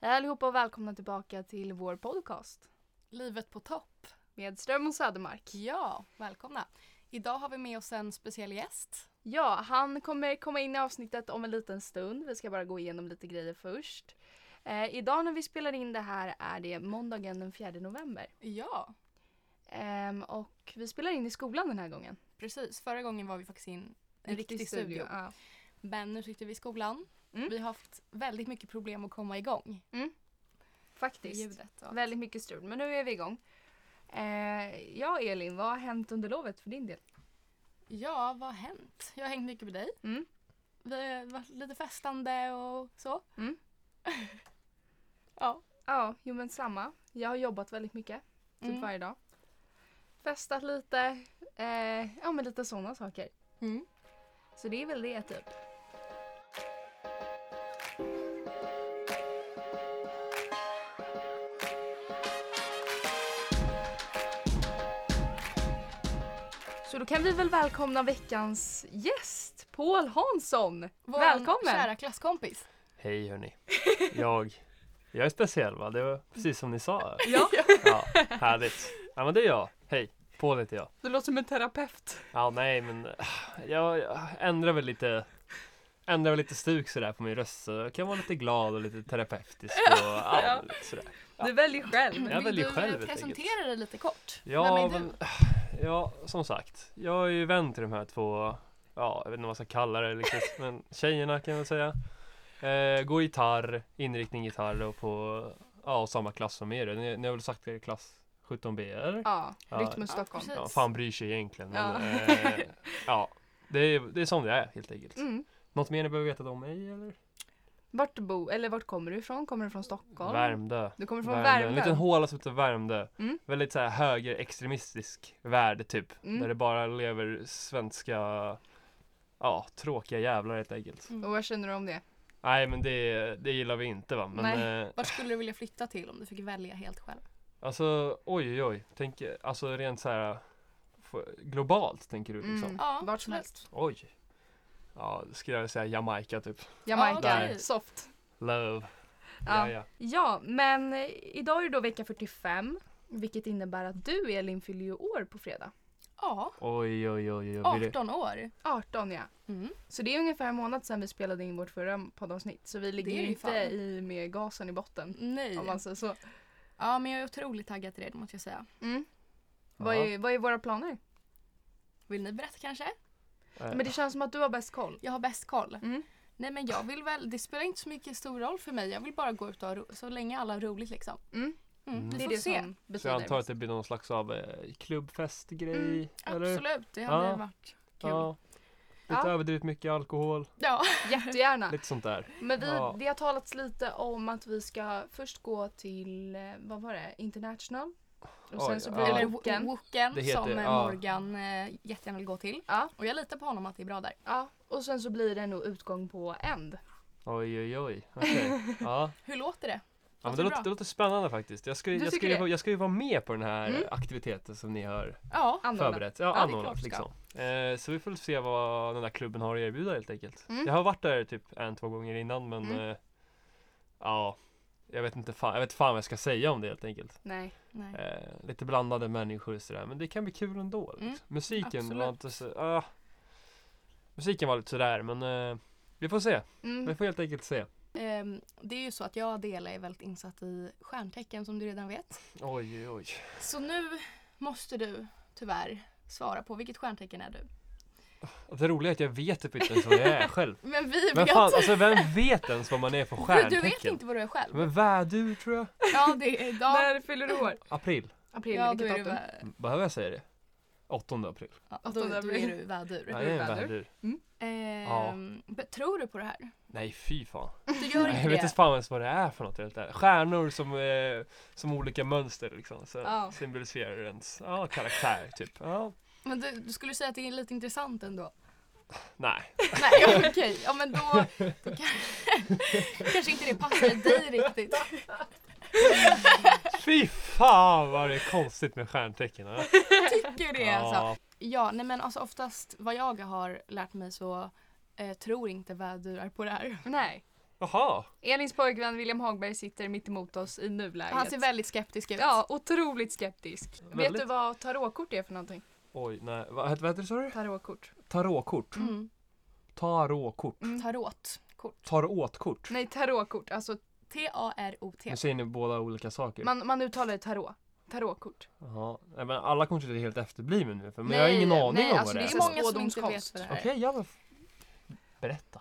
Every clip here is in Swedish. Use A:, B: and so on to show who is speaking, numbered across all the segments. A: Hej allihopa och välkomna tillbaka till vår podcast
B: Livet på topp.
A: med Ström och Södermark.
B: Ja, välkomna. Idag har vi med oss en speciell gäst.
A: Ja, han kommer komma in i avsnittet om en liten stund. Vi ska bara gå igenom lite grejer först. Eh, idag när vi spelar in det här är det måndagen den 4 november.
B: Ja,
A: Ehm, och vi spelar in i skolan den här gången.
B: precis. Förra gången var vi faktiskt in en riktig, studio.
A: Ja.
B: Men nu sitter vi i skolan.
A: Mm.
B: Vi har haft väldigt mycket problem att komma igång. Med
A: Faktiskt.
B: ljudet. Och...
A: Väldigt mycket strul, men nu är vi igång. Eh, ja, Elin, vad har hänt under lovet för din del?
B: Ja, vad har hänt? Jag har hängt mycket med dig.
A: Mm.
B: Vi har varit lite festande och så.
A: Mm.
B: ja.
A: Ja, jo men samma. Jag har jobbat väldigt mycket. Typ
B: Mm.
A: varje dag. Festat lite. Eh, ja men lite sådana saker.
B: Mm.
A: Så det är väl det typ. Så då kan vi väl välkomna veckans gäst, Paul Hansson.
B: Vår
A: Välkommen!
B: kära klasskompis.
C: Hej hörni. Jag, jag är speciell va? Det var precis som ni sa.
A: Ja.
C: Ja, härligt. Ja men det är jag. Hej. Paul heter jag.
A: Du låter som en terapeut.
C: Ja nej men äh, jag, jag ändrar väl lite Ändrar väl lite stuk sådär på min röst så jag kan vara lite glad och lite terapeutisk och ja, lite sådär.
A: Du väljer själv.
C: Jag
B: Vill
C: väljer
B: du
C: själv,
B: eh,
C: helt
B: presentera dig lite kort?
C: Ja,
B: Vem är du?
C: men, ja, som sagt. Jag är ju vän till de här två, ja, jag vet inte vad man ska kalla det riktigt, men tjejerna kan jag väl säga. Eh, går gitarr, inriktning gitarr och på, ja, och samma klass som er. Ni, ni har väl sagt er klass 17B eller?
A: Ja,
C: Ja.
A: Rytmus
B: Ja,
A: Stockholm.
B: precis.
C: Ja, fan bryr sig egentligen. Men,
A: Ja.
C: eh, ja, det är, det är som det är helt enkelt.
A: Mm.
C: Något mer ni behöver veta om mig eller?
A: Vart, bo, eller vart kommer du ifrån? Kommer du från Stockholm?
C: Värmdö.
A: Du kommer från
C: Värmdö. En
A: Värmdö?
C: liten håla som heter Värmdö.
A: Mm.
C: Väldigt så här högerextremistisk värld typ.
A: Mm.
C: Där det bara lever svenska, ja, tråkiga jävlar helt enkelt.
A: Och vad känner du om det?
C: Nej men det, det gillar vi inte va. Men eh,
B: Vart skulle du vilja flytta till om du fick välja helt själv?
C: alltså oj oj oj. Tänk, alltså rent så här f- globalt tänker du liksom.
A: Mm.
B: Ja,
A: Vart som
B: absolut.
A: helst.
C: Oj. Ja, skulle jag säga Jamaica typ.
A: Jamaica,
C: okej.
A: soft.
C: Love.
A: Ja.
C: Ja, ja.
A: Ja, men eh, idag är det då vecka 45. Vilket innebär att du Elin fyller ju år på fredag.
B: Ja,
C: Oj oj oj. oj. Blir det-
B: 18 år.
A: 18 ja.
B: Mm.
A: Så det är ungefär en månad sedan vi spelade in vårt förra poddavsnitt. Så vi ligger
B: är
A: ju
B: ju
A: inte
B: fan.
A: i med gasen i botten.
B: Nej.
A: Om man säger så.
B: Ja, men jag är otroligt taggad till det, det måste jag säga.
A: Mm. Vad,
C: Eh,
A: är, vad är våra planer?
B: Vill ni berätta kanske?
C: Ja. Eh,
A: Men det känns som att du har bäst koll.
B: Jag har bäst koll.
A: Mm.
B: Nej, men jag vill väl, det spelar inte så mycket stor roll för mig. Jag vill bara gå ut och ha ro- så länge alla har roligt liksom.
A: Mm.
B: Mm.
C: Mm.
B: Vi
A: Det är
B: får
A: det
B: se.
A: som
C: Så jag
A: betyder.
C: antar att det blir någon slags av eh, klubbfestgrej?
B: Mm,
C: eller?
B: Absolut, det hade
C: Ja.
B: varit kul. Ja.
C: Ja. Lite
A: Ja. Ah.
C: överdrivet mycket alkohol,
A: Jättegärna.
C: lite sånt där.
A: Men vi,
C: Ja.
A: det har talats lite om att vi ska först gå till, eh, vad var det, international? Och sen
C: Oj,
A: så
C: ja.
A: blir det
B: Eller
A: boken.
B: Woken
C: Det heter-
B: som eh,
C: ja.
B: Morgan eh, jättegärna vill gå till.
A: Ja.
B: Och jag litar på honom att det är bra där.
A: Ja, och sen så blir det nog utgång på End.
C: Oj oj oj. Okej. Ja.
B: Hur låter det?
C: Ja, men
B: Låter
C: det,
B: bra.
C: låter, det låter spännande faktiskt. Jag ska, ju-
A: Du
C: jag, ska
A: tycker
C: ju,
A: det?
C: vara- jag ska ju vara med på den här
A: Mm.
C: eh, aktiviteten som ni har
B: Ja.
A: Annorlunda.
C: förberett. Ja,
B: det är klart
C: anordnat
B: du ska.
C: liksom. Eh, så vi får se vad den där klubben har att erbjuda helt enkelt.
A: Mm.
C: Jag har varit där typ en, två gånger innan men
A: Mm.
C: eh, ja, jag vet inte fan, jag vet fan vad jag ska säga om det helt enkelt.
A: Nej.
B: Nej.
C: Eh, lite blandade människor och sådär, men det kan bli kul ändå. Liksom.
B: Mm,
C: Musiken
B: absolut.
C: var inte så... ah. musiken var lite sådär, men eh, vi får se. Vi
A: Mm.
C: får helt enkelt se.
B: Ehm, det är ju så att jag och Adela är väldigt insatt i stjärntecken som du redan vet.
C: Oj, oj, oj.
B: Så nu måste du tyvärr svara på vilket stjärntecken är du?
C: Och Det roliga är att jag vet typ inte ens vad jag är själv.
B: Men vi
C: Men
B: vet!
C: fan, alltså vem vet ens vad man är för
B: Du, du vet
C: stjärntecken?
B: inte vad du är själv?
C: Men vädur tror jag.
B: Ja, det är idag.
A: När fyller du år?
C: April.
A: April,
B: ja, då
A: vilket
B: är du,
A: datum?
B: vä-
C: Behöver jag säga det? 8 april.
B: ja, då, då är du vädur.
C: Nej, det är
A: vädur.
C: vädur.
B: Ehm, men Tror du på det här?
C: Nej, fy fan.
B: Du gör
C: Nej,
B: inte
C: jag vet
B: det?
C: inte fan ens vad det är för något. Helt där. Stjärnor som, eh, som olika mönster liksom. Så
A: Ja.
C: Symboliserar ens ja, karaktär typ. Ja.
B: Men du, du skulle säga att det är lite intressant ändå?
C: Nej,
B: Nej, okej. Ja, men då, då kan, kanske inte det passar dig riktigt.
C: Fy fan vad det är konstigt med stjärntecken. Ja.
B: Tycker det alltså.
C: Ja,
B: Ja, nej men alltså oftast vad jag har lärt mig så eh, tror inte vädurar på det här.
A: Nej.
C: Jaha!
A: Elins pojkvän William Hagberg sitter mitt emot oss i nuläget.
B: Han ser väldigt skeptisk ut.
A: Ja, otroligt skeptisk.
C: Väldigt.
A: Vet du vad tarotkort är för någonting?
C: Oj, nej. Vad vad heter det sa du?
A: Tarotkort.
C: Tarotkort?
A: Mm.
C: Tarotkort?
B: Mm. Tarotkort.
C: Tarotkort?
A: Nej, tarotkort. Alltså,
B: T-A-R-O-T.
C: Nu säger ni båda olika saker.
A: man, man uttalar det tarot. Tarotkort.
C: Jaha. Nej, men alla kommer inte helt efterblivna nu för men jag har ingen aning
A: nej,
C: om
A: alltså,
C: vad det
B: det
C: är.
B: är många som inte
A: Spådomskonst.
B: vet vad det är.
C: Okej, ja men... f- Berätta.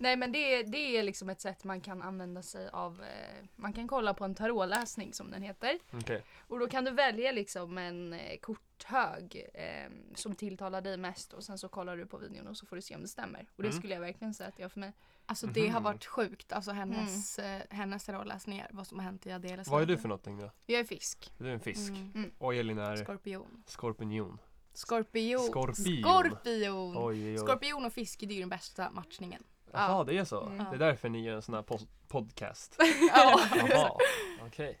A: Nej men det, är- det är liksom ett sätt man kan använda sig av. Eh, man kan kolla på en tarotläsning som den heter.
C: Okej.
A: Och då kan du välja liksom en eh, korthög eh, som tilltalar dig mest och sen så kollar du på videon och så får du se om det stämmer. Och det
C: Mm.
A: skulle jag verkligen säga att det gör för mig.
B: Alltså det har
C: Mhm.
B: varit sjukt. Alltså hennes,
A: Mm.
B: eh, hennes terrorläsningar. Vad som har hänt i Adeles
C: Vad är
B: liv.
C: du för någonting då?
A: Jag är fisk.
C: Du är en fisk.
B: Mm.
C: Och Elin är
B: Skorpion.
C: skorpion.
B: Skorpion.
C: Skorpion.
B: Skorpion.
C: Oj, oj, oj.
B: Skorpion och fisk det är ju den bästa matchningen.
C: Jaha, det är så.
A: Mm.
C: Det är därför ni gör en sån här pos- podcast.
B: Ja.
C: Jaha, okej.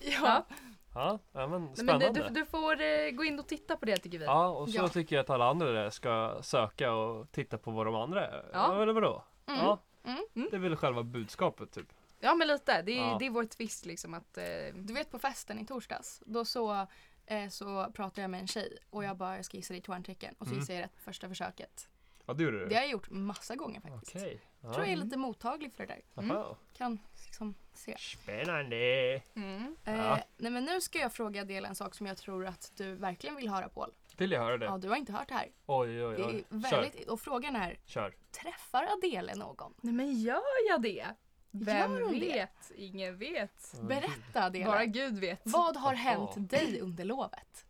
A: Ja.
C: Ja, ja, men
A: Nej, men
C: spännande.
A: du, du, du får eh, gå in och titta på det tycker vi.
C: Ja, och så
B: Ja.
C: tycker jag att alla andra där ska söka och titta på vad de andra är.
A: Ja.
C: Ja. Eller vadå?
B: Mm.
C: Ja.
B: Mm.
C: Det är väl själva budskapet typ.
A: Ja men lite, det är,
C: Ja.
A: det är vår twist liksom att eh,
B: Du vet på festen i torsdags, då så, eh, så pratade jag med en tjej och jag bara jag ska gissa dig tvärntecken och så
C: Mm.
B: gissade jag rätt på första försöket.
C: Ja, det gjorde du?
B: Det har jag gjort massa gånger faktiskt.
C: Okej. Ja.
B: Jag tror jag är lite mottaglig för det där.
A: Mm.
C: Jaha.
B: Kan liksom se.
C: Spännande!
A: mm.
B: Eh,
C: Ja.
B: Nej men nu ska jag fråga Adela en sak som jag tror att du verkligen vill höra Paul.
C: Vill jag höra det?
B: Ja, du har inte hört det här.
C: Oj, oj,
B: Det är
C: oj.
B: väldigt,
C: Kör,
B: och frågan är,
C: kör.
B: träffar Adele någon?
A: Nej men gör jag det? Vem
B: Gör hon det?
A: vet? Ingen vet.
C: Mm.
B: Berätta Adele.
A: Bara Gud vet.
B: Vad har
C: Jaha.
B: hänt dig under lovet?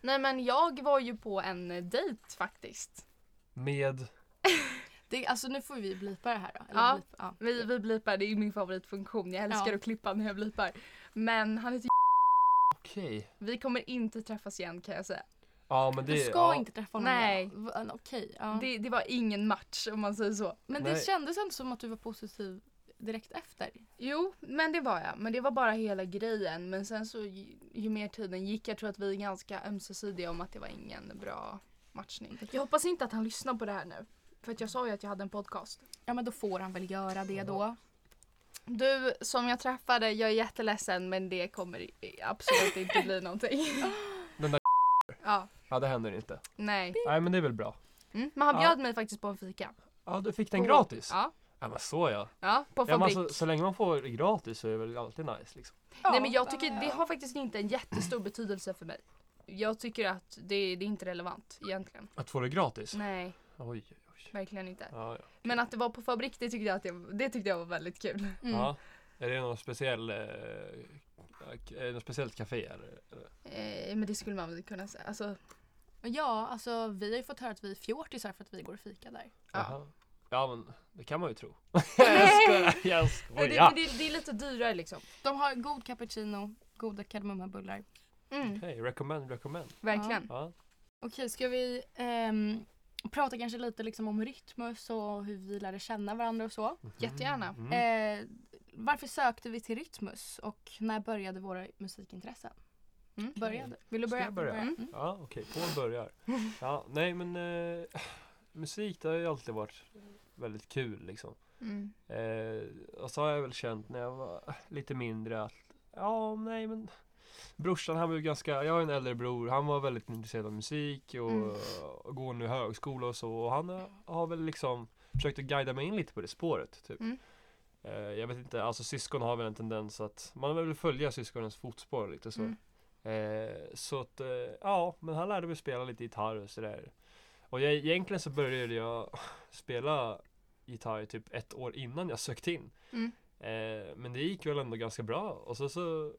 A: Nej men jag var ju på en dejt faktiskt.
C: Med...
B: Det, alltså nu får vi blipa det här då.
A: Ja.
B: blip- ja.
A: Vi, vi blipar, det är min favoritfunktion. Jag älskar
B: Ja.
A: att klippa när jag blipar. Men han heter
C: Okej.
A: Vi kommer inte träffas igen kan jag säga.
C: Ja, men det...
B: Du ska
C: ja.
B: inte träffa honom
A: Nej.
B: igen. Va- Okej. ja.
A: Det, det var ingen match om man säger så.
B: Men
C: Nej.
B: det kändes ändå som att du var positiv direkt efter.
A: Jo, men det var jag. Men det var bara hela grejen. Men sen så ju, ju mer tiden gick, jag tror att vi är ganska ömsesidiga om att det var ingen bra matchning. Jag hoppas inte att han lyssnar på det här nu. För att jag sa ju att jag hade en podcast.
B: Ja men då får han väl göra det då.
A: Du som jag träffade, jag är jätteledsen men det kommer absolut inte bli någonting.
C: Den där
A: Ja,
C: Ja, det händer inte.
A: nej.
C: Nej, men det är väl bra.
A: Mm. Men han
C: Ja.
A: bjöd mig faktiskt på en fika.
C: Ja, du fick den
A: På-
C: gratis? Ja,
A: Ja,
C: men så ja.
A: ja på
C: ja men
A: fabrik.
C: alltså, så länge man får det gratis så är det väl alltid nice liksom.
A: Nej men jag tycker det har faktiskt inte en jättestor betydelse för mig. Jag tycker att det, det är inte relevant egentligen.
C: Att få det gratis?
A: Nej,
C: Oj, oj, oj.
A: verkligen inte.
C: Ja, ja.
A: Men att det var på fabrik det tyckte jag, att jag, det tyckte jag var väldigt kul.
B: Mm.
C: ja. Är det någon speciell... Eh, eh, något speciellt café? eller?
A: Eh, men det skulle man väl kunna säga. Alltså,
B: Ja, alltså vi har ju fått höra att vi är fjortisar för att vi går och fika där.
A: Ja.
C: Jaha. Ja, men det kan man ju tro. jag skojar, jag
A: nej, det,
C: skojar.
A: men det, det är lite dyrare liksom.
B: De har god cappuccino, goda kardemummabullar.
A: Mm,
C: Okej, recommend, recommend.
A: verkligen.
C: Ja.
B: Okej, ska vi ehm, prata kanske lite liksom om Rytmus och hur vi lärde känna varandra och så.
C: Mhm.
A: Jättegärna.
C: Mm.
B: Eh, varför sökte vi till Rytmus och när började våra musikintressen?
A: Mm.
B: Började? Vill du
C: Ska
B: börja?
C: jag börja?
B: Mm.
C: Ja, okej. Paul börjar. Ja, nej, men eh, musik det har ju alltid varit väldigt kul liksom.
A: Mm.
C: Eh, och så har jag väl känt när jag var lite mindre att ja, nej men brorsan han var ju ganska, jag har en äldre bror, han var väldigt intresserad av musik och,
A: Mm.
C: och går nu högskola och så och han har, har väl liksom försökt att guida mig in lite på det spåret typ.
A: Mm.
C: Eh, jag vet inte, alltså syskon har väl en tendens att man vill följa syskonens fotspår lite så.
A: Mm.
C: Eh, så att, eh, ja, men han lärde mig spela lite gitarr och sådär. Och jag, egentligen så började jag spela gitarr typ ett år innan jag sökte in.
A: Mm.
C: Eh, men det gick väl ändå ganska bra och så så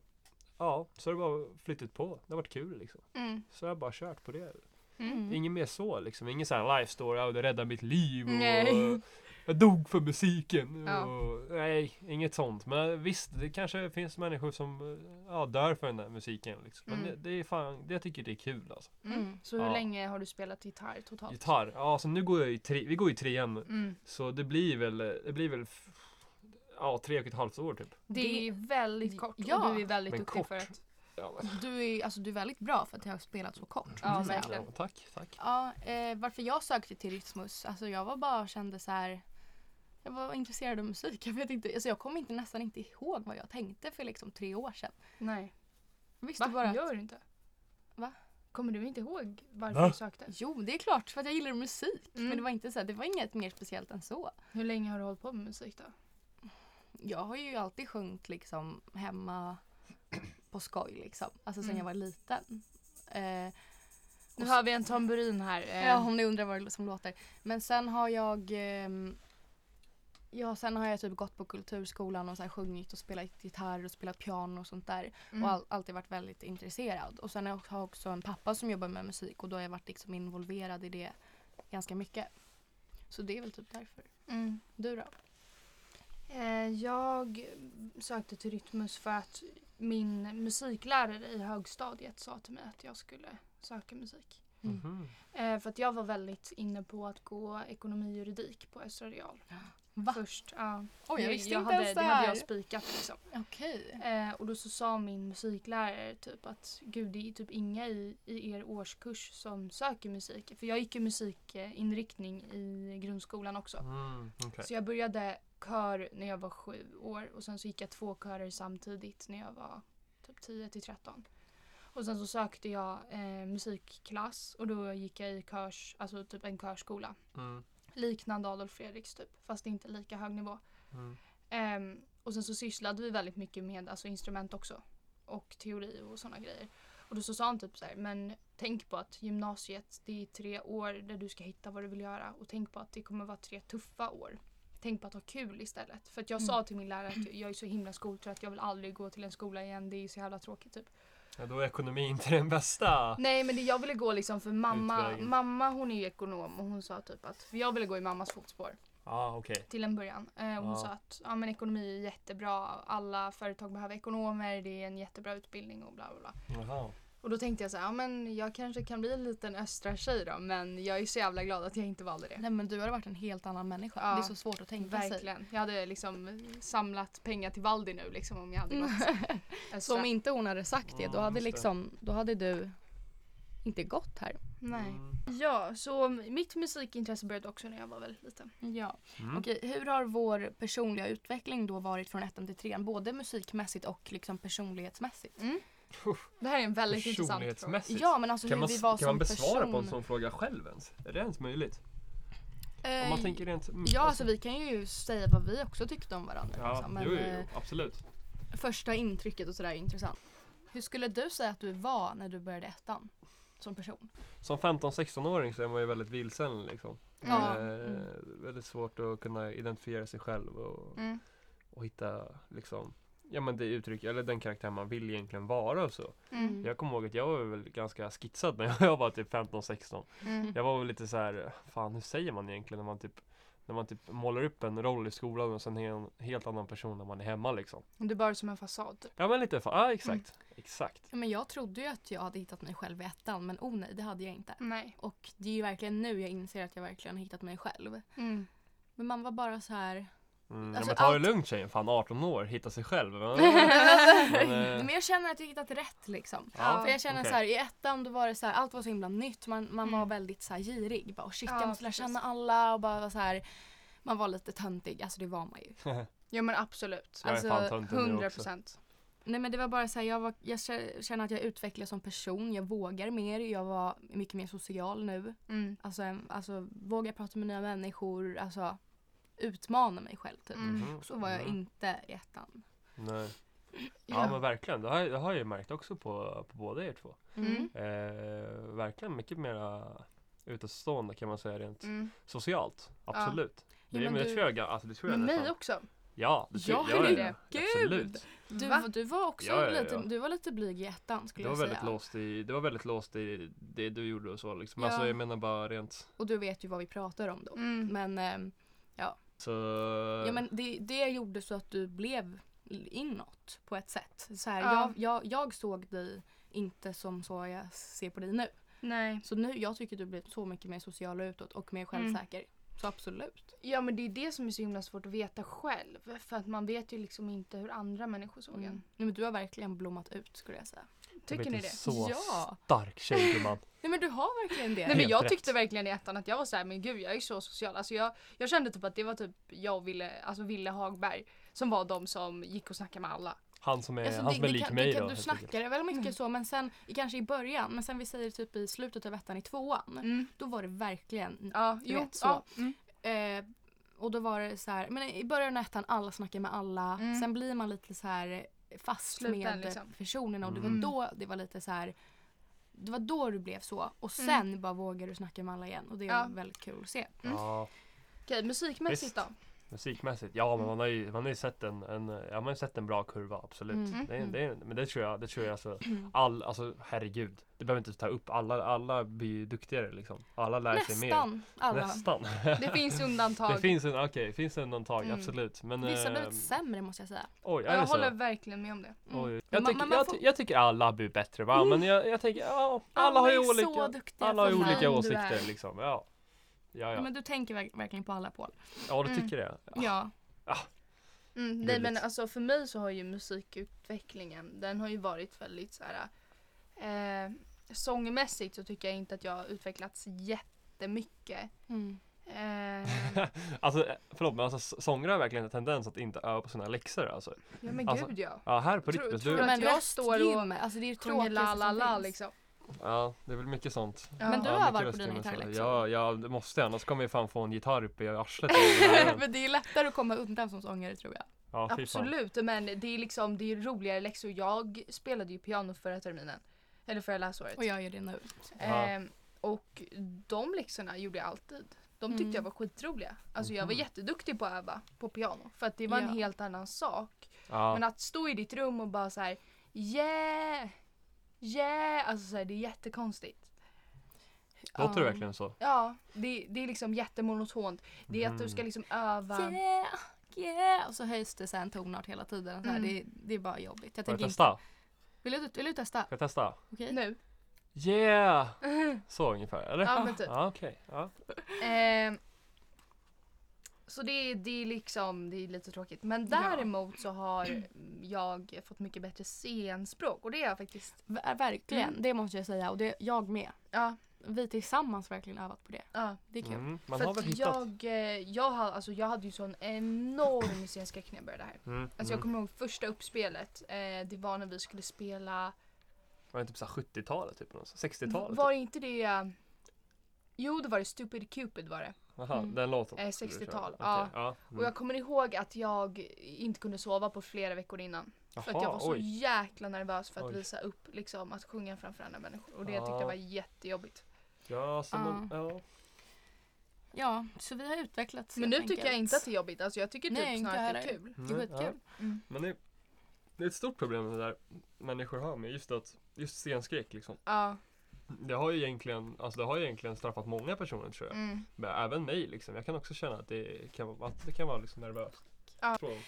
C: Ja, så har det bara flyttat på. Det har varit kul liksom.
A: Mm.
C: Så jag har bara kört på det.
A: Mm.
C: Inget mer så liksom. Ingen sån här life story, "Ja, det räddade mitt liv och
A: Nej.
C: jag dog för musiken.
A: Ja.
C: Och, nej, inget sånt. Men visst, det kanske finns människor som eh, ja, dör för den där musiken. Liksom. Men
A: Mm.
C: det, det är fan, det jag tycker det är kul alltså.
A: Mm. Så hur
C: Ja.
A: länge har du spelat gitarr totalt?
C: Gitarr, ja så nu går jag i tre, vi går i trean.
A: Mm.
C: Så det blir väl, det blir väl f- Ja, tre och ett halvt år typ.
A: Det är väldigt kort
B: Ja.
A: och du är väldigt
C: Men
A: duktig
C: kort.
A: för att...
C: Ja,
B: Du, är, alltså, du är väldigt bra för att jag har spelat så kort.
A: Ja,
B: måste jag säga.
A: verkligen.
C: tack, tack.
B: Ja, eh, varför jag sökte till Rytmus, alltså jag var bara och kände så här Jag var intresserad av musik. Jag, vet inte, alltså jag kommer inte, nästan inte ihåg vad jag tänkte för liksom tre år sedan.
A: Nej.
B: Jag visste
A: Va?
B: bara att,
A: Gör du inte?
B: Va?
A: Kommer du inte ihåg varför
C: Va?
A: du sökte?
B: Jo, det är klart för att jag gillar musik.
A: Mm.
B: Men det var, inte så här, det var inget mer speciellt än så.
A: Hur länge har du hållit på med musik då?
B: Jag har ju alltid sjungit liksom hemma på skoj liksom. Alltså sen
A: Mm.
B: jag var liten. Eh,
A: Nu har vi en tamburin här. eh.
B: Ja, om ni undrar vad det som låter. Men sen har jag ehm, Ja, sen har jag typ gått på kulturskolan och så här sjungit och spelat gitarr och spelat piano och sånt där.
A: Mm.
B: Och all, alltid varit väldigt intresserad. Och sen har jag har också en pappa som jobbar med musik och då har jag varit liksom involverad i det ganska mycket. Så det är väl typ därför.
A: Mm.
B: Du då?
A: Eh, Jag sökte till Rytmus för att min musiklärare i högstadiet sa till mig att jag skulle söka musik.
B: Mm.
C: Mhm.
A: Eh, För att jag var väldigt inne på att gå ekonomi och juridik på Östra Real.
B: Va?
A: Först, ja.
B: Oj, jag visste inte
A: hade,
B: ens det
A: Det hade
B: här.
A: jag spikat liksom.
B: Okej.
A: Eh, och då så sa min musiklärare typ att gud det är typ inga i, i er årskurs som söker musik. För jag gick ju musikinriktning i grundskolan också.
C: Mm, okej.
A: Så jag började kör när jag var sju år och sen så gick jag två körer samtidigt när jag var typ 10 till 13. Och sen så sökte jag eh, musikklass och då gick jag i körs, alltså typ en körskola.
C: Mm,
A: Liknande Adolf Fredriks typ, fast inte lika hög nivå.
C: mm,
A: Ehm, och sen så sysslade vi väldigt mycket med alltså, instrument också. Och teori och sådana grejer. Och då så sa han typ så här, men tänk på att gymnasiet det är tre år där du ska hitta vad du vill göra. Och tänk på att det kommer vara tre tuffa år. Tänk på att ha kul istället. För att jag sa till min lärare att jag är så himla skoltrött, jag vill aldrig gå till en skola igen, det är så jävla tråkigt typ.
C: ja, då är ekonomi inte den bästa.
A: Nej men det, jag ville gå liksom för mamma,
C: Utvägen.
A: mamma hon är ju ekonom och hon sa typ att, för jag ville gå i mammas fotspår
C: Ja, okej.
A: till en början. Eh, och hon
C: Ja.
A: sa att ja, men ekonomi är jättebra, alla företag behöver ekonomer, det är en jättebra utbildning och bla bla bla.
C: Jaha.
A: Och då tänkte jag så här, ja, men jag kanske kan bli en liten östra tjej då men jag är så jävla glad att jag inte valde det.
B: Nej men du har varit en helt annan människa.
A: Ja,
B: Det är så svårt att tänka sig.
A: Verkligen. Jag hade liksom samlat pengar till Valdi nu liksom om jag hade gått östra.
B: Så om inte hon hade sagt det, då
C: Ja,
B: hade,
C: just det.
B: liksom, då hade du inte gått här.
A: Nej.
C: Mm.
A: Ja, så mitt musikintresse började också när jag var väldigt liten.
B: Ja.
C: Mm.
B: Okej, hur har vår personliga utveckling då varit från ettan till trean? Både musikmässigt och liksom personlighetsmässigt.
A: Det här är en väldigt intressant fråga.
C: Personlighetsmässigt.
B: Ja, men alltså
C: kan
B: hur
C: man,
B: vi var
C: kan
B: som
C: man besvara
B: person.
C: på en sån fråga själv ens? Är det ens möjligt?
B: Eh,
C: Om man tänker rent... mm,
B: Ja, alltså vi kan ju säga vad vi också tyckte om varandra.
C: Ja,
B: liksom. Men
C: jo, jo,
B: eh,
C: jo, absolut.
B: första intrycket och sådär är intressant. Hur skulle du säga att du var när du började ettan? Som person?
C: Som 15-16-åring så är man ju väldigt vilsen liksom.
B: Ja.
C: Eh,
B: Mm.
C: Väldigt svårt att kunna identifiera sig själv och,
A: Mm.
C: och hitta liksom Ja men det uttryck, eller den karaktär man vill egentligen vara och så.
A: Mm.
C: Jag kommer ihåg att jag var väl ganska skitsad när jag var typ 15-16.
A: Mm.
C: Jag var väl lite så här, fan hur säger man egentligen när man typ När man typ målar upp en roll i skolan och sen är en helt annan person när man är hemma liksom.
A: Du Mm. bara som en fasad typ.
C: Ja men lite, fa- ja exakt. Exakt.
B: Ja, Men jag trodde ju att jag hade hittat mig själv i ettan, men oh nej, det hade jag inte.
A: Nej.
B: Och det är ju verkligen nu jag inser att jag verkligen har hittat mig själv.
A: Mm.
B: Men man var bara så här...
C: Mm,
B: Alltså,
C: ja, men ta
B: allt-
C: det lugnt tjejen, fan 18 år, hitta sig själv. Men, eh,
B: Men jag känner att jag hittat rätt liksom.
A: Ja,
B: För jag känner
C: okej.
B: så här, i ettan då var det så här, allt var så himla nytt. Man, man
A: Mm.
B: var väldigt så här girig. Bara, oh shit,
A: Ja,
B: jag måste lära
A: precis.
B: känna alla och bara var så här, man var lite töntig. Alltså det var man ju.
A: Ja men absolut.
C: Jag är
A: Alltså
C: fan töntig nu
A: 100
C: också.
A: procent.
B: Nej men det var bara så här, jag, var, jag kä- känner att jag utvecklas som person. Jag vågar mer. Jag var mycket mer social nu.
A: Mm.
B: Alltså, en- alltså vågar prata med nya människor. Alltså utmana mig själv typ.
A: Mm.
B: Så var jag
C: Mm.
B: inte i ettan.
C: Nej. Ja,
A: Ja.
C: men verkligen, det har, det har jag ju märkt också på, på båda er två.
A: Mm.
C: Eh, verkligen mycket mera utestående kan man säga rent
A: Mm.
C: socialt. Absolut.
B: Ja,
C: det,
B: men
C: men det
B: du-
C: tror jag, ga- alltså, det tror jag
A: Men mig
C: nästan.
A: också.
C: Ja, det tror
B: Ja,
C: jag.
A: herregud!
C: Absolut.
B: Du,
A: Va?
B: var- du var också
C: Ja, ja, ja.
B: lite, du var lite blyg i ettan skulle
C: Det var,
B: jag
C: väldigt
B: säga.
C: låst i, det var väldigt låst i det du gjorde och så liksom.
B: Ja.
C: Alltså jag menar bara rent
B: Och du vet ju vad vi pratar om då.
A: Mm.
B: Men, ehm,
C: så...
B: ja, men det, det gjorde så att du blev inåt på ett sätt. Så här,
A: Ja.
B: jag, jag, jag såg dig inte som så jag ser på dig nu.
A: Nej.
B: Mm. Så nu, jag tycker du blev så mycket mer social och utåt och mer självsäker. Så absolut.
A: Ja men det är det som är så himla svårt att veta själv. För att man vet ju liksom inte hur andra människor såg
B: Mm.
A: en.
B: Nej, men du har verkligen blommat ut skulle jag säga.
A: Tycker ni det?
C: Så
B: Ja.
C: stark tjej gumman.
B: Nej men du har verkligen det.
A: Nej men
C: Helt
A: jag
C: rätt.
A: tyckte verkligen i ettan att jag var så här, men gud jag är så social. Alltså jag, jag kände typ att det var typ jag och Ville, alltså Ville Hagberg som var de som gick och snackade med alla.
C: Han som är,
B: Alltså,
C: han
B: det,
C: som är
B: det
C: Eh, lik
B: kan,
C: mig
B: det kan,
C: då.
B: du
C: helt enkelt.
B: snackade väl mycket så men sen i- kanske i början men sen vi säger typ i slutet av ettan i tvåan.
A: Mm.
B: Då var det verkligen
A: Ja,
B: Du
A: jo,
B: vet, så.
A: ja. Mm.
B: eh, och då var det så här, men i början av ettan alla snackar med alla.
A: Mm.
B: Sen blir man lite så här fast
A: Sluten,
B: med
A: liksom.
B: personerna och det var
A: Mm.
B: då det var lite så här det var då du blev så och sen bara vågar du snacka med alla igen och det är
A: Ja.
B: väldigt kul att se.
A: Mm.
C: Ja,
A: Okej, musikmässigt då?
C: Visst. musikmässigt. Ja, men man har ju, man har ju sett, en, en, ja, man har ju sett en bra kurva, absolut.
B: Mm.
C: Det är, det är, men det tror jag, det tror jag alltså, all, alltså herregud. Det behöver inte ta upp, alla, alla blir ju duktigare liksom. Alla lär sig mer.
B: Nästan alla.
C: Nästan.
A: Det finns undantag.
C: Det finns en, okej, det finns en undantag,
A: Mm.
C: absolut. Men,
B: Vissa blir
C: eh,
B: lite sämre måste jag säga.
C: Oj,
A: Ja,
C: är det
A: jag
C: så?
A: håller verkligen med om det.
B: Mm.
C: Oj.
B: Men
C: Jag,
B: man-
C: tycker-
B: man
C: jag,
B: får-
C: ty- jag tycker alla blir bättre va? Men jag, jag tänker, ja, alla har ju
B: är
C: olika.
B: så duktiga
C: Alla har ju
B: för fan, du
C: olika
B: är.
C: åsikter liksom. Ja, ja, ja.
B: Men du tänker verk- verkligen på alla Paul.
C: ja du
A: Mm.
C: tycker det?
B: Ja.
A: Mm, nej
C: Gulligt.
A: men alltså för mig så har ju musikutvecklingen, den har ju varit väldigt så här. Eh, sångmässigt så tycker jag inte att jag har utvecklats jättemycket.
B: Mm.
A: Eh,
C: Alltså, eh, förlåt men alltså, s- sångare har verkligen en tendens att inte öva på sina läxor alltså.
A: ja men
C: Alltså-
A: gud ja.
C: Ja, här på
A: Tror-
C: Ripples,
A: tror
C: du...
A: du att-
B: Men
A: jag
B: röstgym,
A: står och
B: alltså det är
A: Sjunger
B: ju tråkigaste
A: la
B: som
A: la la
B: finns.
A: liksom.
C: Ja, det är väl mycket sånt.
A: Ja.
B: Men du
C: ja,
B: övar
C: mycket
B: på
C: röst
B: dina
C: i näsan.
A: liksom.
B: gitarrlektioner?
C: Ja, ja, det måste jag. Annars kommer jag fan få en gitarr upp i arslet. ja,
B: Men det är lättare att komma undan som sångare tror jag.
C: fy fan.
A: Absolut, men det är liksom det är roligare läxor. Jag spelade ju piano förra terminen. Eller förra läsåret.
B: Och jag gör det nu.
C: Ja.
A: Ehm, och de läxorna gjorde jag alltid. De tyckte
B: Mm.
A: jag var skitroliga. Alltså jag var
C: Mhm.
A: jätteduktig på att öva på piano. För att det var
B: Ja.
A: en helt annan sak.
C: Ja.
A: Men att stå i ditt rum och bara så här, yeah, yeah, alltså så här, det är jättekonstigt.
C: Låter
A: alltså,
C: det
B: Ja.
C: verkligen så?
A: Ja, det, det är liksom jättemonotont. Det är att du ska
C: Mm.
A: liksom öva.
B: Yeah, yeah. Och så höjs det så här en tonart hela tiden. Så här,
A: Mm.
B: det, det är bara jobbigt. Jag
C: Får jag
B: tänker
C: testa?
B: inte. Vill du, vill du testa?
C: Ska jag testa?
B: Okej.
A: Nu.
C: Yeah! Så ungefär, eller?
A: Ja, men typ.
C: Ja, okej. Ja.
A: Ehm, så det, är- det är liksom, det är lite tråkigt. Men
B: Ja.
A: däremot så har jag fått mycket bättre scenspråk och det är jag faktiskt.
B: Ver- eh, verkligen,
A: Mm.
B: det måste jag säga. Och det, jag med.
A: Ja,
B: Vi tillsammans verkligen övat på det.
A: ja.
B: Det är kul.
C: Mm, man
A: För
C: har väl
A: att jag,
C: hittat.
A: eh, jag, har, alltså, jag hade ju sån enorm scenskräck när jag började här.
C: Mm,
A: Alltså jag
C: mm.
A: kommer ihåg första uppspelet, eh, det var när vi skulle spela,
C: Var det typ såhär 70-talet? Typ, eller något så? 60-talet?
A: var inte det, eh, jo det var det, Stupid Cupid var det.
C: typ? Aha,
B: Mm.
C: den låten?
A: Eh,
C: skulle du
A: 60-tal,
C: köra.
A: ja.
C: Okej, ja. Mm.
A: Och jag kommer ihåg att jag inte kunde sova på flera veckor innan. För att jag
C: Jaha,
A: var så
C: oj.
A: jäkla nervös för att
C: Oj.
A: visa upp, liksom att sjunga framför andra människor. Och det jag tyckte
C: Ja.
A: jag var jättejobbigt.
C: Ja, alltså, man, ja.
B: Ja, så vi har utvecklats
A: Men
B: helt
A: nu
B: enkelt.
A: tycker jag inte att det är jobbigt, alltså jag tycker typ
B: Nej, inte
A: snarare att det är
B: heller.
A: kul. Mm.
B: Det är
C: Nej, Mm, ja.
B: skitkul.
C: Men det, det är ett stort problem det där människor har med just att just scenskräck liksom.
A: Ja,
C: Det har ju egentligen, alltså det har ju egentligen straffat många personer tror jag.
A: mm.
C: Men även mig liksom. Jag kan också känna att det kan, vara- att det kan vara liksom nervöst.
A: Ja.
C: Från-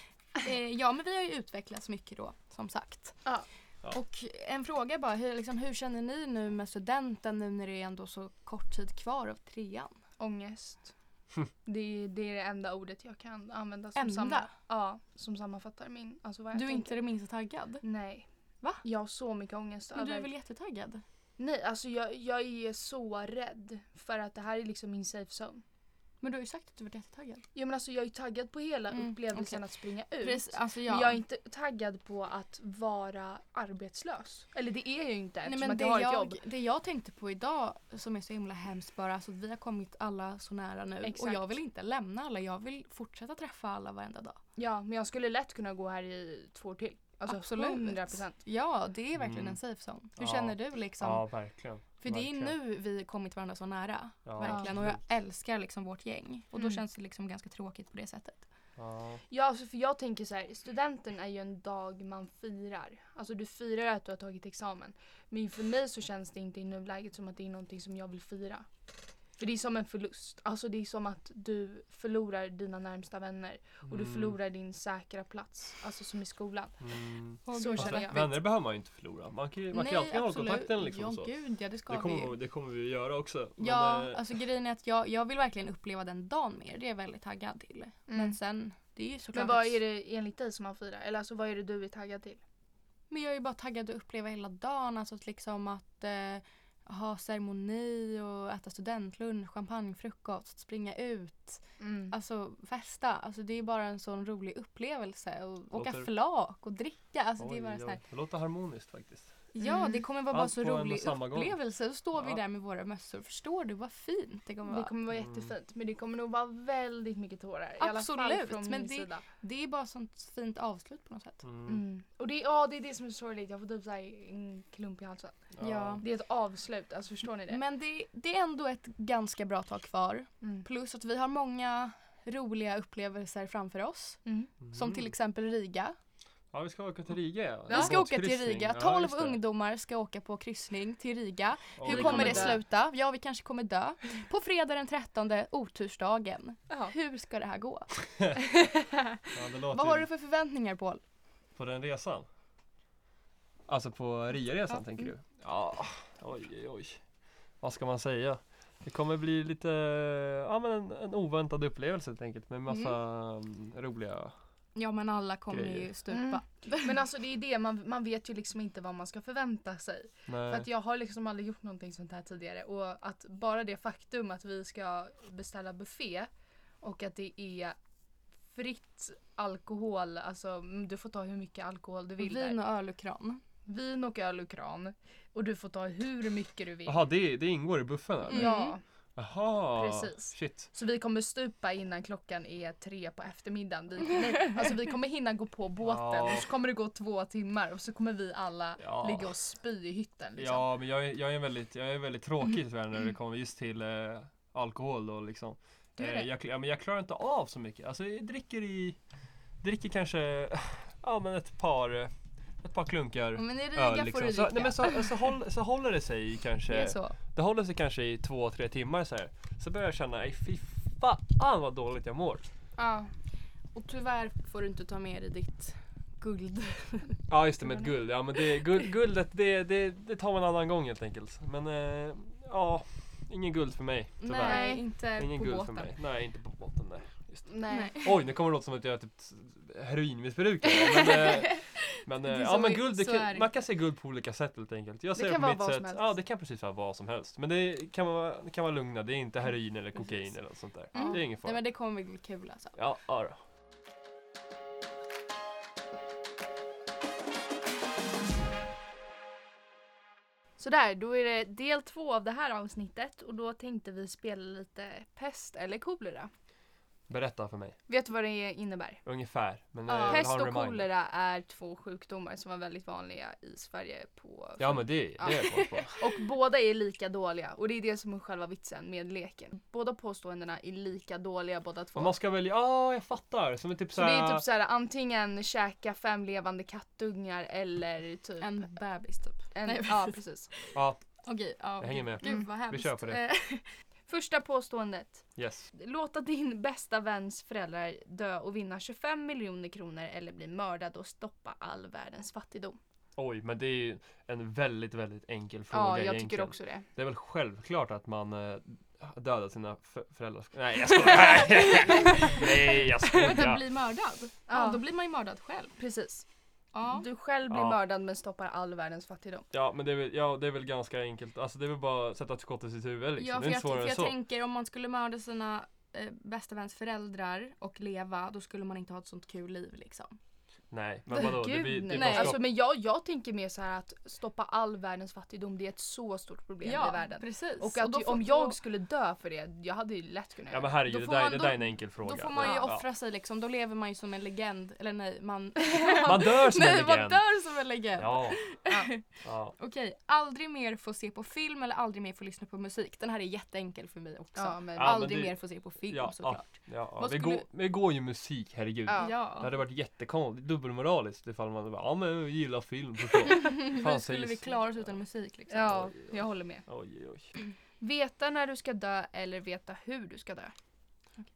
B: Eh, ja, men vi har ju utvecklats mycket då, som sagt.
A: Ja.
C: Ja.
B: Och en fråga bara, hur, liksom, hur känner ni nu med studenten nu när det är ändå så kort tid kvar av trean?
A: ångest. Det är, det är det enda ordet jag kan använda som,
B: Enda?
A: samma, ja, som sammanfattar min, alltså vad jag
B: Du är
A: tänker.
B: inte det minsta taggad?
A: Nej.
B: Va?
A: Jag har så mycket ångest
B: Men du
A: över...
B: är väl jättetaggad?
A: Nej, alltså jag, jag är så rädd för att det här är liksom min safe zone.
B: Men du har ju sagt att du var jättetaggad.
A: Ja, men alltså jag är taggad på hela
B: Mm,
A: upplevelsen att springa ut.
B: Precis, alltså ja.
A: Men jag är inte taggad på att vara arbetslös. Eller det är jag ju inte
B: Nej,
A: eftersom
B: men
A: att
B: det,
A: jag har ett
B: jag,
A: jobb.
B: det jag tänkte på idag som är så himla hemskt bara, alltså att vi har kommit alla så nära nu och
A: Exakt.
B: jag vill inte lämna alla, jag vill fortsätta träffa alla varenda dag.
A: Ja, men jag skulle lätt kunna gå här i två år till. Alltså
B: Absolut.
A: 100 procent.
B: Ja, det är verkligen
C: Mm.
B: en safe zone. Hur
C: Ja.
B: känner du liksom?
C: Ja, verkligen.
B: För det är
C: verkligen.
B: nu vi kommit varandra så nära.
C: Ja,
B: verkligen. Och jag
C: absolut.
B: älskar liksom vårt gäng. Och då
A: Mm.
B: känns det liksom ganska tråkigt på det sättet.
C: Ja.
A: Ja, alltså för jag tänker så här, studenten är ju en dag man firar. Alltså du firar att du har tagit examen. Men för mig så känns det inte i nuläget som att det är någonting som jag vill fira. För För det är som en förlust. Alltså det är som att du förlorar dina närmsta vänner och du förlorar din säkra plats, alltså som i skolan.
C: Mm.
B: Åh,
A: Så
B: gud,
A: känner
C: Fast
A: jag.
C: vänner behöver man ju inte förlora. Man kan ju man kan ju alltid ha kontakten liksom.
B: ja,
C: så.
B: gud ja, det ska
C: Det
B: vi
C: kommer,
B: ju.
C: vi- det kommer vi göra också. Men,
B: Ja,
C: eh,
B: alltså grejen är att jag, jag vill verkligen uppleva den dagen mer. Det är jag väldigt taggad till. Mm. Men sen, det är ju såklart
A: Men vad är det enligt dig som man firar? Eller alltså vad är det du är taggad till?
B: Men jag är ju bara taggad att uppleva hela dagen. Alltså att liksom att eh, ha ceremoni och äta studentlunch, champagnefrukost, springa ut,
A: Mm.
B: alltså festa. Alltså det är bara en sån rolig upplevelse. Och åka
C: Låter-
B: flak och dricka. Alltså det är
C: oj,
B: bara så här,
C: oj. Det låter harmoniskt faktiskt.
B: Ja,
A: Mm.
B: det kommer vara bara
C: Allt
B: så
C: på en och
B: rolig
C: samma gång.
B: upplevelse. Så står vi
C: Ja.
B: där med våra mössor. Förstår du vad fint det kommer
A: Alltså, Det
B: vara?
A: kommer vara
C: Mm.
A: jättefint men det kommer nog vara väldigt mycket tårar. I alla fall
B: Absolut,
A: från
B: men
A: min
B: det-
A: sida.
B: Det är bara sånt fint avslut på något sätt.
C: Mm.
A: Mm. Och det, ja, det är det som är sorgligt, jag får typ så här en klump i halsen.
B: Ja.
A: Det är ett avslut, alltså förstår
C: Mm.
A: ni det?
B: Men det, det är ändå ett ganska bra tag kvar.
A: Mm.
B: Plus att vi har många roliga upplevelser framför oss.
A: Mm.
C: Mm.
B: Som till exempel Riga.
C: Ja, vi ska åka till Riga. ja.
A: Ja.
B: Vi ska åka till
C: Båtkryssning.
B: Riga.
C: Ja,
B: 12
C: just det.
B: ungdomar ska åka på kryssning till Riga.
C: Och
B: Hur
C: vi
B: kommer
A: kommer
B: det
A: dö.
B: sluta? Ja, vi kanske kommer dö. På fredag den 13, otursdagen.
A: Ja.
B: Hur ska det här gå?
C: Ja, typ. det låter
B: Vad har
C: ju-
B: du för förväntningar Paul?
C: På den resan? Alltså på Ria-resan
B: Ja,
C: tänker
B: mm.
C: du? Ja, oj oj oj. Vad ska man säga? Det kommer bli lite, ja men en, en oväntad upplevelse helt enkelt med massa mm, roliga
B: Ja men alla kommer
C: Grejer.
B: ju stupa.
A: Mm. Men alltså det är det, man, man vet ju liksom inte vad man ska förvänta sig. För
C: Nej,
A: att jag har liksom aldrig gjort någonting sånt här tidigare och att bara det faktum att vi ska beställa buffé och att det är fritt alkohol, alltså mm, du får ta hur mycket alkohol du vill
B: Vin
A: där.
B: och öl och kran.
A: Vin och öl och kran. Och du får ta hur mycket du vill.
C: Jaha, det, det ingår i buffen eller?
B: Mm.
A: Ja,
C: Jaha,
A: Precis.
C: shit.
A: så vi kommer stupa innan klockan är tre på eftermiddagen. Vi, nej, alltså vi kommer hinna gå på båten
C: Ja.
A: och så kommer det gå två timmar och så kommer vi alla
C: Ja.
A: ligga och spy i hytten. Liksom.
C: Ja, men jag, är- jag är väldigt, jag är väldigt
B: Mm.
C: tråkig tyvärr när det kommer just till eh, alkohol då liksom.
A: Du är
C: Eh,
A: det?
C: jag, kl- ja, men jag klarar inte av så mycket. Alltså jag dricker i, dricker kanske, ja men ett par, eh, ett par klunkar.
B: Mm, Men i Riga
C: öl
B: får du
C: liksom.
B: dricka.
C: så, nej, men så, så, håll, så håller det sig i kanske
B: det är så.
C: Det håller sig kanske i två, tre timmar så här. Så börjar jag känna, "Ej, fy fan vad dåligt jag mår.
B: Ja. Och tyvärr får du inte ta med dig ditt guld.
C: Ja just det
B: Mm.
C: med ett guld, ja men det, guld, guldet det, det, det tar man en annan gång helt enkelt. Men eh, ja, ingen guld för mig tyvärr.
B: Nej, inte
C: ingen
B: på
C: guld
B: båten.
C: för mig. Nej, inte på båten nej. Just det.
A: Nej.
C: Oj, nu kommer det låta som att jag är typ heroinmissbrukare. Men, eh, men,
B: Det är
C: eh, ja,
B: så
C: men
B: vi-
C: guld, det
B: så är
C: kan,
B: det.
C: man kan se guld på olika sätt helt enkelt. Jag ser
A: Det
C: det,
A: kan
C: på
A: vara
C: mitt
A: vad som
C: sätt.
A: helst.
C: Ja, det kan precis vara vad som helst. Men det kan vara, det kan vara lugna, det är inte heroin eller kokain eller något sånt där.
B: Mm.
C: Det är ingen fara.
B: Nej men det kommer bli kul alltså.
C: Ja, ja då.
A: Sådär, då är det del två av det här avsnittet och då tänkte vi spela lite pest eller kolera.
C: Berätta för mig.
A: Vet du vad det innebär?
C: Ungefär. Men
B: Ja.
C: eh, jag vill
A: Pest
C: ha en
A: och
C: reminder.
A: kolera är två sjukdomar som var väldigt vanliga i Sverige på
C: Ja men det, det
A: Ja.
C: är jag koll på.
A: Och båda är lika dåliga och det är det som är själva vitsen med leken. Båda påståendena är lika dåliga båda två.
C: Men man ska välja, ja jag fattar. Som är typ
A: Så det är
C: såhär-
A: typ såhär antingen käka fem levande kattungar eller typ
B: En bebis typ.
A: en-
B: Nej.
A: ja, precis.
C: Ja,
B: Okej, ja.
C: jag hänger med.
B: Gud vad hemskt.
C: kör på det.
B: Eh,
A: Första påståendet.
C: Yes.
A: Låta din bästa väns föräldrar dö och vinna 25 miljoner kronor eller bli mördad och stoppa all världens fattigdom.
C: Oj, men det är ju en väldigt, väldigt enkel fråga
A: ja, jag tycker
C: egentligen.
A: också det.
C: Det är väl självklart att man eh, dödar sina f- föräldrar. Nej jag skojar! Nej jag
B: Vänta,
C: skojar!
B: bli mördad? Ja.
A: Ja. Mm.
B: då blir man ju mördad själv.
A: Precis.
B: Ja.
A: Du själv blir
C: Ja.
A: mördad men stoppar all världens fattigdom.
C: Ja men det är väl, ja, det är väl ganska enkelt. Alltså det är väl bara att sätta ett skott i sitt huvud liksom.
B: ja,
C: det
B: för
C: är
B: jag,
C: inte
B: för
C: svårare än
B: jag
C: så.
B: tänker om man skulle mörda sina eh, bästa väns föräldrar och leva, då skulle man inte ha ett sånt kul liv liksom.
C: Nej men vadå? det blir, det
A: nej.
C: är bara skott.
A: Alltså, men jag, jag tänker mer så här att stoppa all världens fattigdom det är ett så stort problem i världen.
B: precis.
A: Och att
B: då
A: ju-
B: får-
A: om jag skulle dö för det, jag hade ju lätt kunnat
C: Ja
A: göra
C: men
A: det.
C: herregud,
B: Då
C: det
B: får
C: där,
B: man-
C: det
B: då-
C: där är en enkel fråga.
B: Då får man ju
C: Ja, ja.
B: offra sig liksom, då lever man ju som en legend. Eller nej, man,
C: Man dör som en
B: nej, man
C: legend.
B: dör som en legend.
C: Ja.
A: Ja.
C: ja.
B: Okej, aldrig mer få se på film eller aldrig mer få lyssna på musik. Den här är jätteenkel för mig också.
A: Ja, men,
C: Ja, men
B: aldrig
C: det-
B: mer få se på film
C: Ja,
B: såklart.
C: ja, ja.
B: Vad
C: Det,
B: skulle-
C: går, det går ju musik, herregud.
A: Ja.
B: Ja.
C: Det hade varit jättekonstigt, dubbelmoraliskt ifall man bara, ja men jag gillar film förstå. Fan,
B: Hur skulle
C: sägs-
B: vi klara oss utan musik liksom?
A: ja, jag håller med.
C: Oj, oj, oj.
A: Veta när du ska dö eller veta hur du ska dö?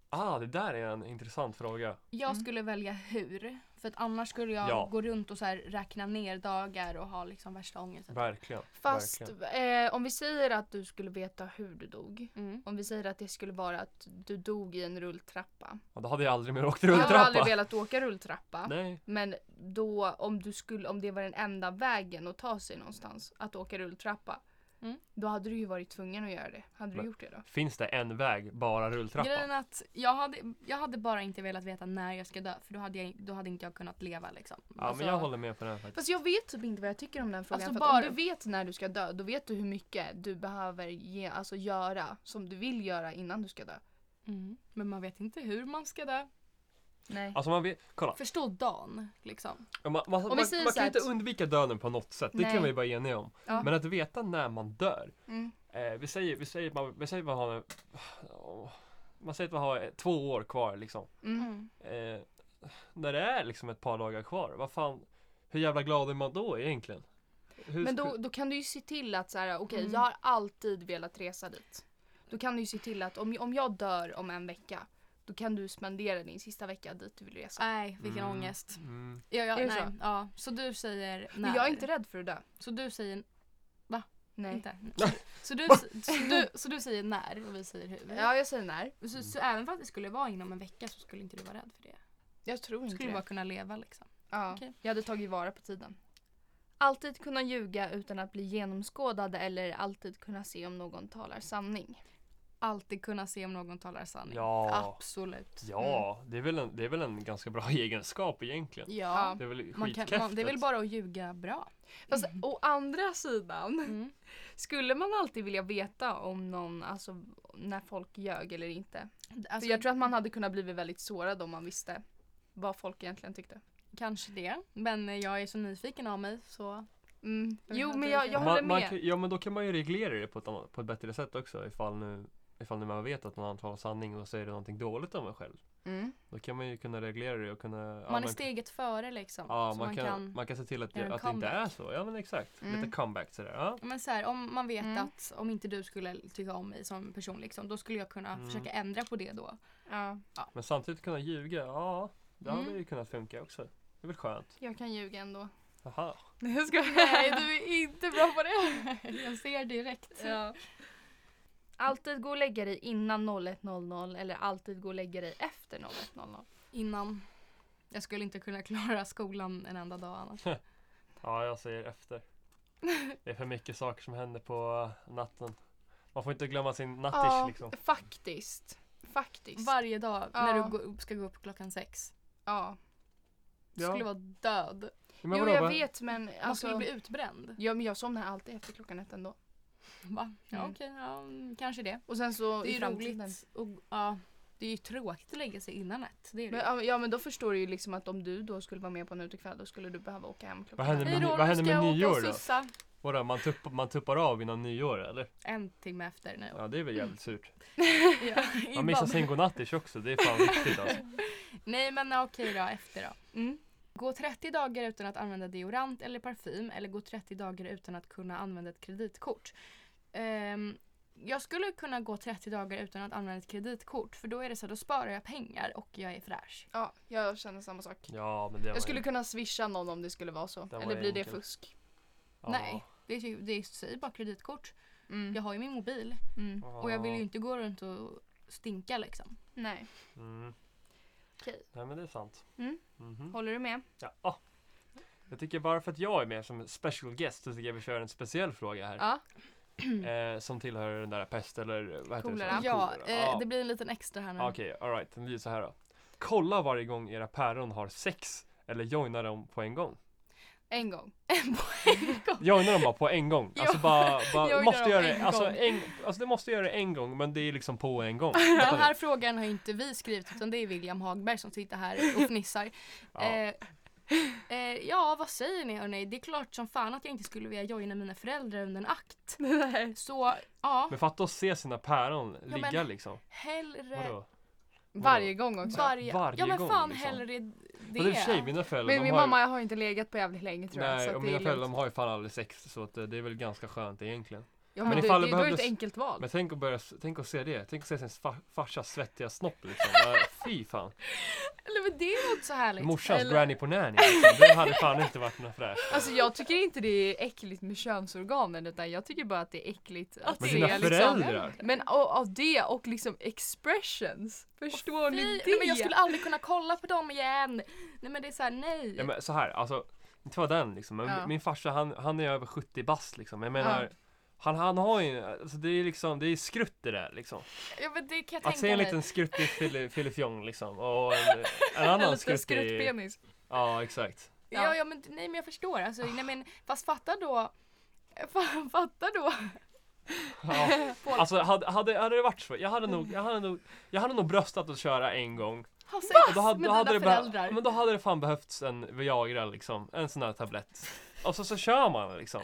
C: Ah, det där är en intressant fråga.
B: Jag
A: Mm.
B: skulle välja hur. För att annars skulle jag
C: Ja.
B: gå runt och så här räkna ner dagar och ha liksom värsta ångesten.
C: Verkligen.
A: Fast
C: verkligen.
A: eh, om vi säger att du skulle veta hur du dog.
B: Mm.
A: Om vi säger att det skulle vara att du dog i en rulltrappa.
C: Ja, då hade jag aldrig mer åkt
A: Jag har aldrig
C: rulltrappa.
A: velat åka rulltrappa.
C: Nej.
A: Men då om, du skulle, om det var den enda vägen att ta sig någonstans, att åka rulltrappa.
B: Mm.
A: Då hade du ju varit tvungen att göra det. Hade du
C: Men-
A: gjort det då?
C: Finns det en väg, bara rulltrappa?
B: Grejen är att jag hade, jag hade bara inte velat veta när jag ska dö för då hade, jag, då hade inte jag kunnat leva liksom.
C: Ja, men
A: alltså-
C: jag håller med på den faktiskt.
A: Fast jag vet typ inte vad jag tycker om den frågan.
B: Alltså
A: för att
B: bara-
A: Om du vet när du ska dö, då vet du hur mycket du behöver ge, alltså göra som du vill göra innan du ska dö.
B: Mm. Men man vet inte hur man ska dö.
A: Nej.
C: Alltså man vet, kolla.
B: Förstå dagen liksom.
C: Man, man, man, man
A: säger
C: kan
A: så
C: ju
A: här
C: inte
A: att-
C: undvika döden på något sätt, det
A: Nej.
C: kan vi vara eniga om.
A: Ja.
C: Men att veta när man dör.
A: Mm.
C: Eh, vi säger vi säger att man, vi säger att man har åh, man säger att man har eh, två år kvar liksom.
A: Mm.
C: Eh, när det är liksom ett par dagar kvar, vad fan, hur jävla glad är man då egentligen? Hur
A: Men då,
C: sku-
A: då kan du ju se till att så här, okej
B: Mm.
A: jag har alltid velat resa dit. Då kan du ju se till att om, om jag dör om en vecka, då kan du spendera din sista vecka dit du vill resa.
B: Nej, vilken
C: Mm,
B: ångest.
C: Mm.
B: Ja, ja,
A: Är det
B: nej.
A: så?
B: Så? Ja. så du säger när.
A: Men jag är inte rädd för att dö.
B: Så du säger
A: Nej.
B: inte. Så du, så, du, så du säger när och vi säger hur.
A: Ja, jag säger när.
C: Mm.
B: Så, så även fast det skulle vara inom en vecka så skulle inte du vara rädd för det.
A: Jag tror
B: Du
C: Mm.
A: inte
B: skulle
A: det.
B: bara kunna leva liksom.
A: Ja.
B: Okej.
A: Jag hade tagit vara på tiden. Alltid kunna ljuga utan att bli genomskådad eller alltid kunna se om någon talar sanning.
B: Alltid kunna se om någon talar sanning.
C: Ja,
B: Absolut.
C: ja
B: Mm.
C: det, är väl en, det är väl en ganska bra egenskap egentligen.
B: Ja.
C: Det är väl
B: Man kan,
C: skitkräftigt.
B: man, det är väl bara att ljuga bra.
A: Fast å andra sidan
B: Mm.
A: skulle man alltid vilja veta om någon, alltså när folk ljög eller inte. För
B: Alltså,
A: jag tror att man hade kunnat bli väldigt sårad om man visste vad folk egentligen tyckte.
B: Kanske det. Men jag är så nyfiken av mig så
A: Mm.
B: Jag
A: Jo
B: hade
A: men jag,
B: inte-
A: jag håller
C: man, man
A: med.
C: kan, ja men då kan man ju reglera det på ett, annat, på ett bättre sätt också ifall nu Ifall nu man vet att någon annan talar sanning och säger någonting dåligt om en själv.
A: Mm.
C: Då kan man ju kunna reglera det och kunna ja,
B: man är
C: men-
B: steget före liksom.
C: Ja,
B: så
C: man, kan, man kan se till att,
B: göra en
C: det, att det inte
B: comeback.
C: är så. Ja men exakt.
A: Mm.
C: Lite comeback sådär. Ja.
B: Men så här, om man vet
A: Mm.
B: att om inte du skulle tycka om mig som person liksom, då skulle jag kunna
C: Mm.
B: försöka ändra på det då.
A: Ja,
C: Men samtidigt kunna ljuga. Ja, det hade
B: Mm.
C: ju kunnat funka också. Det är väl skönt.
A: jag kan ljuga ändå.
C: Aha.
A: Jag skojar.
B: Nej, du är inte Eh, bra på det. jag ser direkt.
A: Ja. Alltid gå och lägga dig innan 01.00 eller alltid gå och lägga dig efter 01.00.
B: Innan. Jag skulle inte kunna klara skolan en enda dag annars.
C: Ja, jag säger efter. Det är för mycket saker som händer på natten. Man får inte glömma sin nattish liksom.
A: faktiskt. Faktiskt.
B: Varje dag när
A: Ja.
B: du går upp, ska gå upp klockan sex.
A: ja.
B: Du skulle vara död.
C: men
A: jo
C: vadå,
A: jag
C: vad-
A: vet men
B: Man skulle
A: alltså.
B: bli utbränd.
A: Ja men jag somnar alltid efter klockan ett ändå.
B: Va? Ja,
A: Mm.
B: okej. Ja, mm, kanske det.
A: Och sen så
B: Det är
A: i
B: ju
A: framtiden.
B: roligt. Och, ja, det är ju tråkigt att lägga sig innan ett. Det är det.
A: Men, ja, ja men då förstår du ju liksom att om du då skulle vara med på en utekväll då skulle du behöva åka hem klockan
C: Vad händer
A: ett.
C: med
B: Hej då,
C: ni- vad
B: nu
C: händer
B: ska
C: med
B: jag åka
C: nyår
B: och
C: då?
B: sussa.
C: Vadå, man, tupp, man tuppar av innan nyår eller?
B: En timme efter. Nej.
C: Ja det är väl jävligt surt.
B: Ja,
C: Man missar
B: innan.
C: sin godnattish också, det är fan viktigt alltså.
B: Nej men okej då, efter då.
A: Mm.
B: Gå 30 dagar utan att använda deodorant eller parfym eller gå 30 dagar utan att kunna använda ett kreditkort. Ehm, jag skulle kunna gå 30 dagar utan att använda ett kreditkort för då är det så att då sparar jag pengar och jag är fräsch.
A: Ja, jag känner samma sak.
C: Ja men det var
A: Jag skulle
C: ju-
A: kunna swisha någon om det skulle vara så.
C: Den var
A: Eller blir det
C: enkel.
A: fusk?
C: ja.
B: Nej, det är, ju- det är säg bara kreditkort.
A: Mm.
B: Jag har ju min mobil
A: Mm.
B: och jag vill ju
C: Ja.
B: inte gå runt och stinka liksom.
A: Nej.
C: Mm.
A: Okej.
C: Nej men det är sant.
A: Mm.
C: Mhm.
A: Håller du med?
C: Ja. ah. Jag tycker bara för att jag är med som special guest så tycker jag vi kör en speciell fråga här.
A: Ja.
C: Eh, som tillhör den där pest eller vad heter
A: Kolera.
C: det?
B: Ja,
C: Kolera.
B: eh,
C: Ah.
B: det blir en liten extra här nu.
A: Mm.
C: Ah, Okej, alright. Den lyder så här då. Kolla varje gång era päron har sex eller joina dem på en gång.
A: En gång.
C: Joina dem bara på en gång.
B: Jo.
C: Alltså bara,
B: Joina
C: bara måste
B: dem
C: göra det.
B: en
C: Alltså,
B: gång.
C: en, alltså du måste göra det en gång men det är liksom på en gång.
B: Den här frågan har inte vi skrivit utan det är William Hagberg som sitter här och fnissar.
C: Ja.
B: Eh, eh, ja, vad säger ni hörni? Det är klart som fan att jag inte skulle vilja joina mina föräldrar under en akt.
A: Nej.
B: Så ja,
C: Men fatta att se sina päron
B: Ja,
C: ligga
B: men-
C: liksom.
B: hellre
C: Vadå?
A: Varje gång också.
B: varje,
C: Varje
B: Ja men
C: gång,
B: fan
C: liksom.
B: hellre det.
C: Det är i och för sig mina föräldrar.
A: Men
C: de
A: min
C: har ju-
A: mamma har inte legat på jävligt länge tror jag.
C: Nej,
A: så att
C: och
A: det är
C: mina
A: lugnt.
C: föräldrar de har ju fan aldrig sex så att eh, det är väl ganska skönt egentligen.
A: Ja, men,
C: Men
A: det, det,
C: ifall
A: det
C: det
A: är då ett
C: behövdes-
A: enkelt val.
C: Men tänk att, börja, tänk att se det. Tänk att se sin fa- farsas svettiga snopp liksom. Ja, Fy fan.
B: Eller men det är något så härligt.
C: Morsans
A: Eller-
C: granny på nanny. Liksom. Det hade fan inte varit något fräscht.
A: Alltså jag tycker inte det är äckligt med könsorganen utan jag tycker bara att det är äckligt att
C: Men
A: se
C: dina
A: liksom.
C: föräldrar.
A: Men av, av det och liksom expressions. Förstår
B: Fy,
A: ni det?
B: nej, men jag skulle aldrig kunna kolla på dem igen. Nej men det är såhär, nej.
C: Ja, men så här, alltså. Inte var den liksom. Men
A: Ja.
C: min farsa han, han är över 70 bast liksom. Jag menar. Han, han har ju, alltså det är liksom, det är skrutt det där liksom.
B: Ja, men det kan jag
C: Att
B: tänka
C: se en
B: mig.
C: liten skruttig fille- fillefjong liksom och en, en annan
A: en liten
C: skruttig...
A: skruttpenis.
C: Ja, exakt.
A: Ja.
B: Ja, ja men nej men jag förstår. Alltså, nej, men, fast fatta då. fa- Fatta då.
C: Ja.
B: På,
C: Alltså hade, hade, hade det varit så, jag hade nog, jag hade nog, jag hade nog bröstat att köra en gång.
B: ha sex
C: Och då hade,
B: med
C: då hade
B: dina
C: det behö-
B: föräldrar.
C: men då hade det fan behövts en Viagra liksom, en sån här tablett. Och så, så kör man liksom.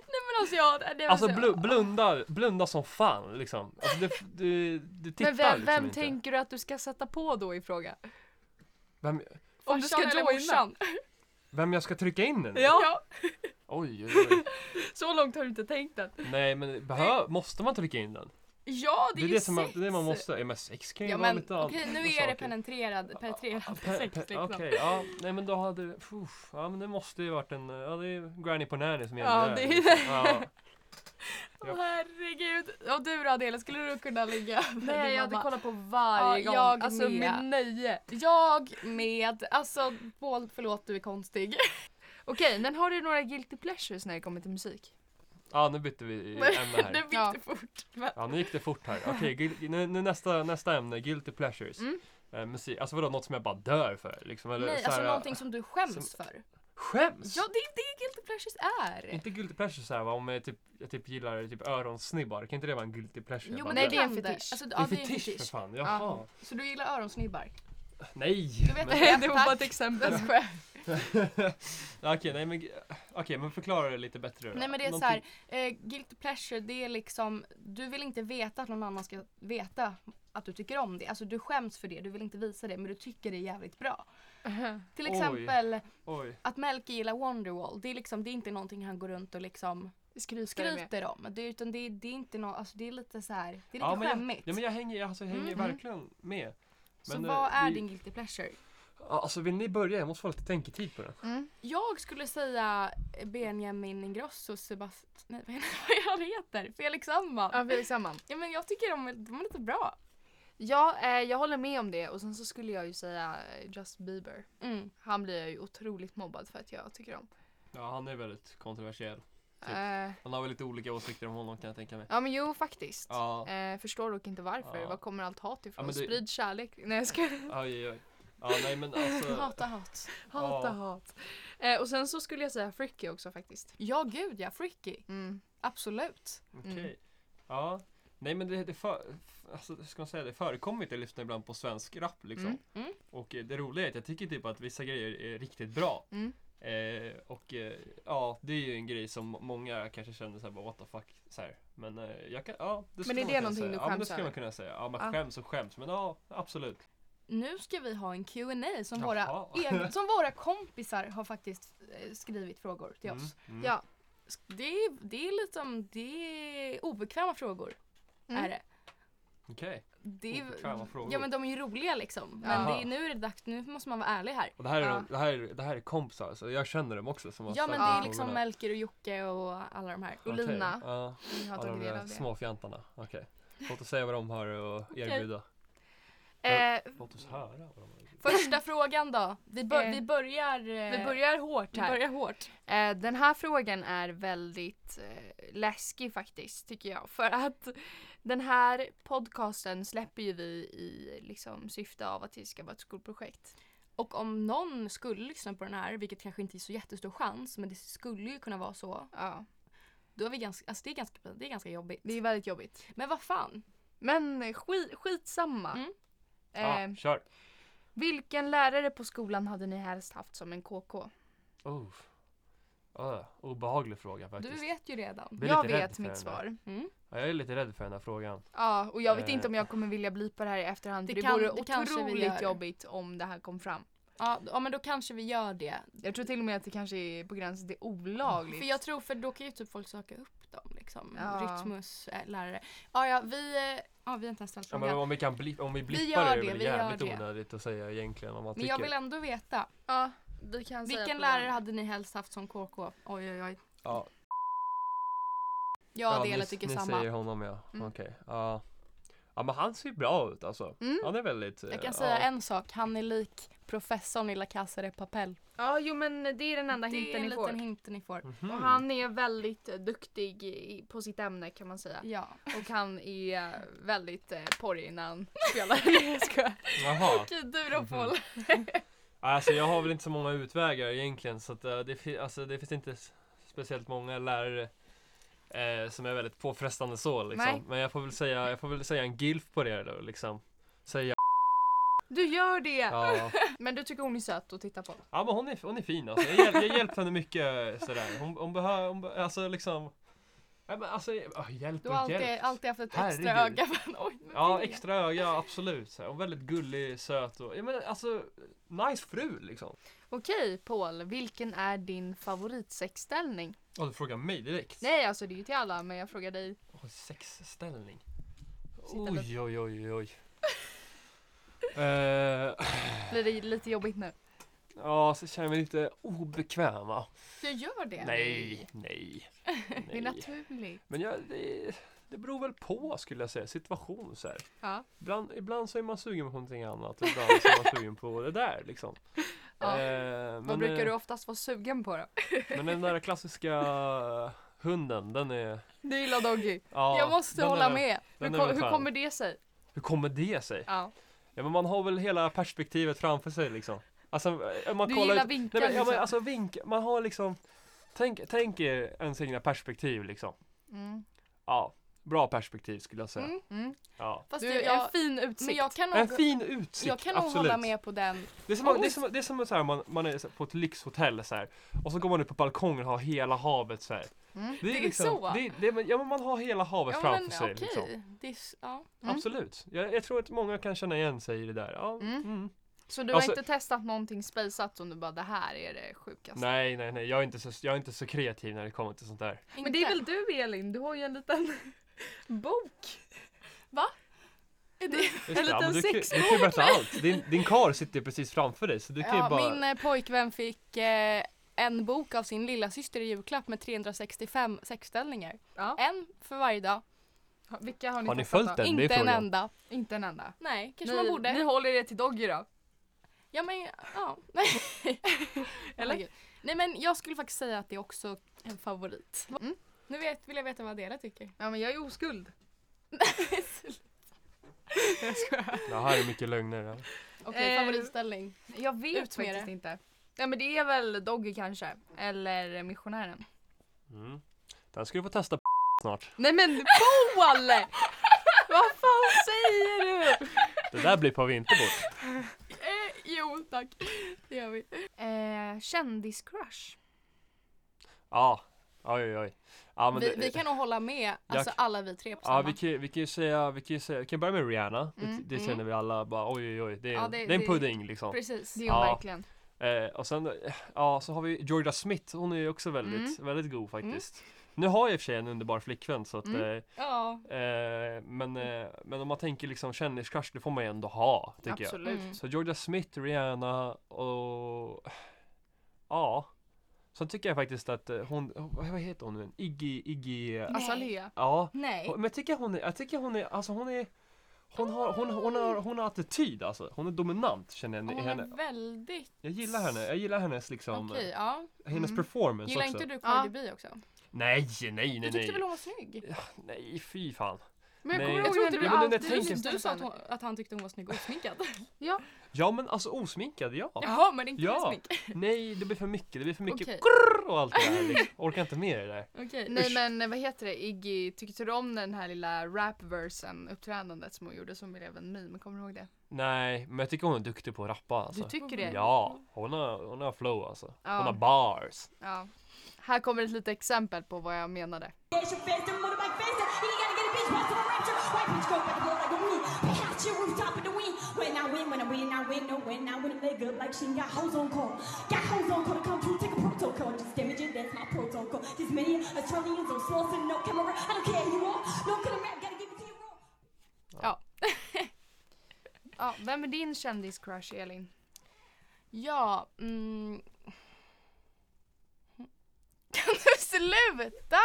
B: Nej men alltså jag. Det är
C: Alltså
B: så-
C: blu, blunda, blunda som fan liksom. Alltså, du, du, du tittar
A: Men vem,
C: liksom
A: vem
C: inte.
A: tänker du att du ska sätta på då i fråga?
C: Vem,
A: Om du ska
B: Farsan eller
A: joina?
B: morsan?
C: vem jag ska trycka in den i?
A: Ja.
B: Ja.
C: Oj, oj, oj.
A: Så långt har du inte tänkt den.
C: Nej men behö, måste man trycka in den?
B: ja, det
C: Det är
B: är ju
C: det, som man,
B: sex.
C: det är man måste, MSX kan ju
B: Ja
C: vara
B: men
C: lite allt-
B: okej nu
C: saker.
B: är det penetrerad, penetrerad
C: Pe-
B: sex
C: pe-
B: liksom.
C: Okej, ja. Nej men då hade det, uff, ja men det måste ju varit en, ja det är Granny på Nanny som gäller
A: Ja,
C: där.
A: det är
C: liksom. Ja.
B: Åh, herregud. Och du då Adela, skulle du kunna ligga med
A: Nej
B: din
A: jag hade
B: mamma?
A: kollat på varje
B: Ja,
A: gång.
B: jag
A: alltså
B: med.
A: med nöje.
B: Jag med, alltså Paul förlåt du är konstig.
A: Okej men har du några guilty pleasures när det kommer till musik?
C: ja, nu bytte vi ämne
B: Det
C: här.
B: bytte
A: Ja.
B: fort. Men,
C: Ja, nu gick det fort här. Okej, gil- nu, nu nästa, nästa ämne, Guilty Pleasures.
A: Mm.
C: Eh, musik, alltså vadå, något som jag bara dör för liksom? Eller,
B: nej
C: så här,
B: alltså
C: eh,
B: någonting som du skäms
C: som-
B: för.
C: Skäms!
B: Ja det är det guilty pleasures är.
C: Inte Guilty Pleasures så här va, om jag typ, jag typ gillar typ öronsnibbar, kan inte det vara en Guilty Pleasure?
B: Jo
C: Bara,
B: men
A: Nej,
B: det,
A: det är en
B: kan
A: fetisch.
B: Alltså,
C: det
B: ja,
C: är fetisch för fan, jaha.
B: Så du gillar öronsnibbar?
C: Nej!
B: Du vet
C: men,
B: det.
A: det var bara ett exempel.
C: Ja, okej, nej men, okej, men förklara det lite bättre då.
B: Nej men det är
C: Någonting-
B: så här, eh, guilty pleasure det är liksom, du vill inte veta att någon annan ska veta att du tycker om det. Alltså du skäms för det, du vill inte visa det men du tycker det är jävligt bra. Till
C: Oj.
B: exempel
C: Oj.
B: att Melke gillar Wonderwall, det är liksom, det är inte någonting han går runt och liksom
A: Skryter du med?
B: skryter om. Det, är- utan det, är- det är inte något, alltså det är lite så här, det är lite
C: Ja, men jag-
B: skämmigt.
C: Ja men jag hänger, alltså, jag hänger
B: Mm.
C: verkligen med.
B: så
C: men, eh,
B: vad är
C: vi-
B: din guilty pleasure?
C: Ja, Alltså vill ni börja? Jag måste få lite tänketid på det.
A: Mm.
B: Jag skulle säga Benjamin Ingrosso, Sebastian, nej vad heter- vad han heter, Felix Sandman.
A: Ja, Felix Sandman.
B: Ja men jag tycker de, är- de är lite bra.
A: Ja, eh, jag håller med om det och sen så skulle jag ju säga eh, Justin Bieber.
B: Mm.
A: Han blir jag ju otroligt mobbad för att jag tycker om.
C: Ja han är väldigt kontroversiell. Typ.
A: Eh,
C: Han har väl lite olika åsikter om honom kan jag tänka mig.
A: ja men jo faktiskt.
C: Ja,
A: Eh, förstår dock inte varför.
C: Ja.
A: Var kommer allt hat ifrån?
C: Ja, men det-
A: Sprid kärlek. Nej jag skojar.
C: oj oj. Ja nej men alltså.
B: Hata hat.
A: Hata
C: Ja.
A: hat. Eh, och sen så skulle jag säga Fricky också faktiskt.
B: Ja gud ja, freaky.
A: Mm.
B: Absolut.
C: Okej.
A: Mm.
C: Ja. Nej men det, det för, alltså, hur ska man säga, det förekommer att jag lyssnar ibland på svensk rap liksom.
A: Mm.
B: Mm.
C: Och eh, det roliga är att jag tycker typ att vissa grejer är riktigt bra.
A: Mm.
C: Eh, och eh, ja, det är ju en grej som många kanske känner såhär bara what the fuck så här. Men eh, jag kan, ja. Det skulle
A: är
C: man
A: det
C: kunna
A: någonting
C: säga.
A: du
C: Ja men det
A: skäms
C: skulle man
A: över?
C: kunna säga. Ja man
A: Ja.
C: skäms och skäms men ja, absolut.
B: Nu ska vi ha en Q&A som,
C: Jaha.
B: våra, egen, som våra kompisar har faktiskt eh, skrivit frågor till oss.
C: Mm, mm.
A: Ja.
B: Sk- Det är, det är lite om, det är obekväma frågor.
A: Mm.
B: Är det.
C: Okej.
B: det är,
C: Obekväma frågor.
B: Ja men de är ju roliga liksom. Men
C: Jaha.
B: det är, nu är det dags, nu måste man vara ärlig här.
C: Och det här, är
A: Ja.
C: de, det, här är, det här är kompisar, så jag känner dem också som har
B: Ja men
C: ställt
B: det
C: de
B: är
A: Ja.
B: liksom
C: frågorna.
B: Melker och Jocke och alla de här.
A: och
C: Okej,
A: Lina.
C: Ja,
A: Ni har
C: alla
A: tagit
C: de
A: del
C: där
A: av det.
C: småfjantarna. Okej. Låt oss säga vad de har att erbjuda.
A: Eh,
C: Låt oss höra vad de har att erbjuda.
B: Första frågan då. Vi, bör,
A: Eh,
B: vi börjar... eh,
A: vi börjar hårt
B: vi
A: här.
B: börjar hårt.
A: Eh, Den här frågan är väldigt eh, läskig faktiskt tycker jag. För att den här podcasten släpper ju vi i liksom, syfte av att det ska vara ett skolprojekt.
B: Och om någon skulle lyssna på den här, vilket kanske inte är så jättestor chans, men det skulle ju kunna vara så.
A: Ja,
B: Då är vi ganska, alltså det är ganska, det är ganska jobbigt.
A: det är väldigt jobbigt.
B: Men vad fan.
A: Men eh, skit, skitsamma.
B: Mm.
A: Eh,
C: ah, kör!
A: vilken lärare på skolan hade ni helst haft som en KK?
C: Oh. Ah, obehaglig fråga
B: Du
C: faktiskt.
B: vet ju redan.
C: Blir
A: Jag
C: lite rädd
A: vet
C: för
A: mitt
C: den där.
A: svar.
B: Mm.
C: Ja, jag är lite rädd för den här frågan.
A: Ja, och jag vet
C: Eh.
A: inte om jag kommer vilja blipa det här i efterhand.
B: Det
A: För det,
B: kan-
A: vore
B: det kanske vi
A: otroligt
B: gör.
A: jobbigt om det här kom fram.
B: Ja, ja men då kanske vi gör det.
A: Jag tror till och med att det kanske är på gränsen till olagligt.
B: För jag tror för då kan ju typ folk söka upp dem. Liksom. liksom.
A: Ja.
B: Rytmus, eh, lärare. Ja, ja, vi, eh, ja, vi har inte ens ställt
C: Ja,
B: frågan.
C: men
B: men,
C: om vi, kan blip, om vi blippar
B: gör
C: det, är
B: det,
C: väl
B: vi gör
C: jävligt
B: det.
C: onödigt att säga egentligen vad man tycker.
B: jag vill ändå veta.
A: Ja, vi kan säga
B: Vilken
A: på
B: lärare
A: den.
B: hade ni helst haft som KK? Oj, oj, oj.
C: ja,
B: Jag och
C: ni,
B: Adela tycker
C: ni
B: samma.
C: säger honom ja.
B: Mm.
C: Okej. Ja. ja men han ser ju bra ut alltså.
A: Mm.
C: Han är väldigt... eh,
B: Jag kan säga
C: ja.
B: en sak. Han är lik professorn i La Casa de Papel.
A: Ja, jo men det är den
B: Det
A: enda
B: är
A: hinten
B: en
A: ni får.
B: liten hint ni får.
C: Mhm.
A: Och han är väldigt eh, duktig i- på sitt ämne kan man säga.
B: Ja.
A: Och han är eh, väldigt eh, porrig när han spelar. Nej jag skojar.
C: Jaha. Mhm.
B: Okej, du då Paul.
C: Alltså jag har väl inte så många utvägar egentligen så att, eh, det, fi- alltså, det finns inte s- speciellt många lärare eh, som är väldigt påfrestande så liksom.
A: Nej.
C: Men jag får väl säga, jag får väl säga en gilf på det då liksom. Säga
A: Du gör det!
C: ja.
A: Men du tycker hon är söt att titta på?
C: Ja men hon är, hon är fin alltså. Jag, hjälp, jag hjälpte henne mycket sådär. Hon, hon behöver, hon, be- alltså liksom. Ja, men alltså oh, hjälp
B: Du
C: och
B: har alltid,
C: hjälp.
B: alltid haft ett extra
C: Herregud.
B: öga för henne. Oj, men
C: Ja
B: det är-
C: extra öga absolut. Så här. Och väldigt gullig, söt och ja, men alltså nice fru liksom.
A: Okej Paul, vilken är din favoritsexställning?
C: Och du frågar mig direkt.
A: Nej alltså det är ju till alla men jag frågar dig.
C: Oj, sexställning.
A: Sitta
C: Oj, oj, oj, oj. Eh,
A: Blir det lite jobbigt nu?
C: ja, så känner jag mig lite obekväm va?
A: Du gör det?
C: Nej, nej.
A: Det är
C: nej.
A: naturligt.
C: Men jag, det, det beror väl på skulle jag säga, situation så här.
A: Ja.
C: Ibland, ibland så är man sugen på någonting annat och ibland så är man sugen på det där liksom.
A: Ja.
C: Eh, men,
A: Vad brukar
C: eh,
A: du oftast vara sugen på då?
C: men den där klassiska hunden, den är...
A: Du gillar Doggy.
C: Ja,
A: jag måste
C: den
A: hålla
C: är,
A: med. Hur,
C: den är
A: kom,
C: väl
A: hur
C: skön.
A: kommer det sig?
C: Hur kommer det sig?
A: Ja.
C: Ja men man har väl hela perspektivet framför sig liksom. Alltså eh, man
A: Du
C: kollar
A: gillar
C: ut...
A: vinkeln
C: Nej, men, ja, men,
A: liksom.
C: alltså vinkel, man har liksom Tänk, tänk er ens egna perspektiv liksom.
A: Mm.
C: Ja, bra perspektiv skulle jag säga.
B: Mm.
A: Mm.
C: Ja.
B: Fast
A: Du,
B: du,
A: jag har
B: jag,
A: en fin utsikt.
B: men jag kan
C: En
B: nog,
C: fin utsikt,
B: jag kan nog
C: absolut.
B: hålla med på den.
C: Det är som, det är som, det är som så här, man, man är så här på ett lyxhotell så här, och så går man ut på balkongen och har hela havet så här.
A: Mm.
C: Det
B: Det är
C: liksom,
B: så.
C: Det, det, är- ja, men man har hela havet
B: Ja,
C: framför
B: men
C: sig.
B: okej.
C: Liksom.
B: Det är s- Ja.
A: Mm.
C: Absolut. Jag, jag tror att många kan känna igen sig i det där. Ja,
A: Mm.
C: mm.
A: Så du
C: Alltså-
A: har inte testat någonting spejsat som du bara det här är det
B: Alltså.
A: sjukaste?
C: Nej, nej, nej. Jag är, inte så, jag är inte så kreativ när det kommer till sånt där.
A: Men det är
B: Inte.
A: väl du Elin? Du har ju en liten bok.
B: Är det-
C: Just det,
A: En
C: ja, men
A: liten
C: du, kan- du kan ju berätta allt. Din, din kar sitter ju precis framför dig så du kan
B: Ja,
C: ju bara...
B: Min eh, pojkvän fick eh, en bok av sin lilla syster i julklapp med 365 sexställningar.
A: Ja.
B: En för varje dag.
A: Ha- Vilka har ni
C: Har ni
A: testat
C: följt
A: då?
C: den? det
B: Inte
C: är
B: en
C: frågan.
B: enda.
A: Inte en enda.
B: Nej, kanske
A: ni,
B: man borde.
A: ni håller er till Doggy då?
B: Ja men, ja. Nej.
A: Eller?
B: Herregud. Nej men jag skulle faktiskt säga att det är också en favorit.
A: Mm.
B: Nu vet, vill jag veta vad Adela tycker.
A: Ja men jag är oskuld.
C: Det här är mycket lögner. Ja.
B: Okej,
A: Eh,
B: favoritställning.
A: Jag vet
B: Ut med
A: faktiskt
B: det.
A: inte. Ja men det är väl Doggy kanske. Eller missionären.
C: Mm. Den ska du få testa snart.
A: Nej men Paul! Vad fan säger du?
C: Det där blir på vinterbord.
B: Eh, jo tack, det gör vi.
A: Eh, kändiscrush.
C: Ja, oj oj oj. Ja, men
B: vi,
C: det,
B: vi kan nog hålla med, alltså alla vi tre på
C: Ja,
B: samma.
C: vi kan, ju- vi kan ju säga, vi kan ju säga, vi kan börja med Rihanna. Det-
A: Mm,
C: det
B: mm.
C: känner vi alla bara oj oj oj. Det är,
B: Ja,
C: en-
B: det-
C: det är
B: det-
C: en pudding liksom.
B: Precis.
A: Det är hon
C: Ja.
A: verkligen.
C: Eh, och sen, eh, ja så har vi Georgia Smith, hon är ju också väldigt,
B: Mm.
C: väldigt god faktiskt. Nu har jag i och för sig en underbar flickvän så att,
A: Mm.
C: eh,
B: Ja.
C: eh, men,
B: Mm.
C: eh, men om man tänker liksom kändiscrush, det får man ju ändå ha, tycker jag.
A: Absolut.
B: Mm.
C: Så Georgia Smith, Rihanna och... Ja. Sen tycker jag faktiskt att eh, hon, vad heter hon nu? Iggy, Iggy... eh,
B: Nej.
A: Azalea.
C: Ja.
B: Nej.
C: Och- Men jag tycker hon är, jag tycker hon är, alltså hon är hon har, hon, hon, har, hon har attityd alltså, hon är dominant känner jag i
B: Hon är
C: henne.
B: väldigt...
C: Jag gillar henne, jag gillar hennes liksom,
B: Okej, ja.
C: hennes
A: Mm.
C: performance
B: Gillar
C: också.
B: inte du
A: Ja.
B: Cardi B också?
C: Nej, nej,
B: Du
C: nej,
B: tyckte väl
C: nej.
B: hon var snygg?
C: Nej, fy fan.
A: Men jag
C: Nej.
A: kommer
C: Jag
A: ihåg
B: tror
A: när
B: inte
A: du
B: du-
C: men jag
A: alltid
B: Du,
C: tänker-
B: du sa att, hon, att han tyckte hon var snygg och osminkad.
C: Ja men alltså osminkad, ja.
B: Jaha, men inte
C: Ja.
B: med smink.
C: Nej, det blir för mycket, det blir för mycket
B: Okej.
C: krrrr och allt det där. Liksom. Orkar inte med det där.
B: Okej.
A: Nej
C: Usch.
A: men eh, vad heter det, Iggy, tyckte du om den här lilla rapversen, uppträdandet som hon gjorde som blev en meme, kommer du ihåg det?
C: Nej, men jag tycker hon är duktig på att rappa alltså.
A: Du tycker det?
C: Ja, hon har, hon har flow alltså.
A: Ja.
C: Hon har bars.
A: Ja. Här kommer ett litet exempel på vad jag menade.
D: There's your face, them motorbike faster. He gotta get a bitch, bust of a rapture. White bitch go back and forth like a wind. Pick out your rooftop in the wind. When I win, when I win, I win, no win, I win a leg up like she ain't got hoes on call. Got hoes on call to come true, take a protocol. Just damage it, that's my protocol. This many Australians on slow girls and no camera. I don't care who you are. No camera. Gotta give it to you raw.
A: Ja, vem är din kändiscrush Elin?
B: Ja, mm. Kan du sluta?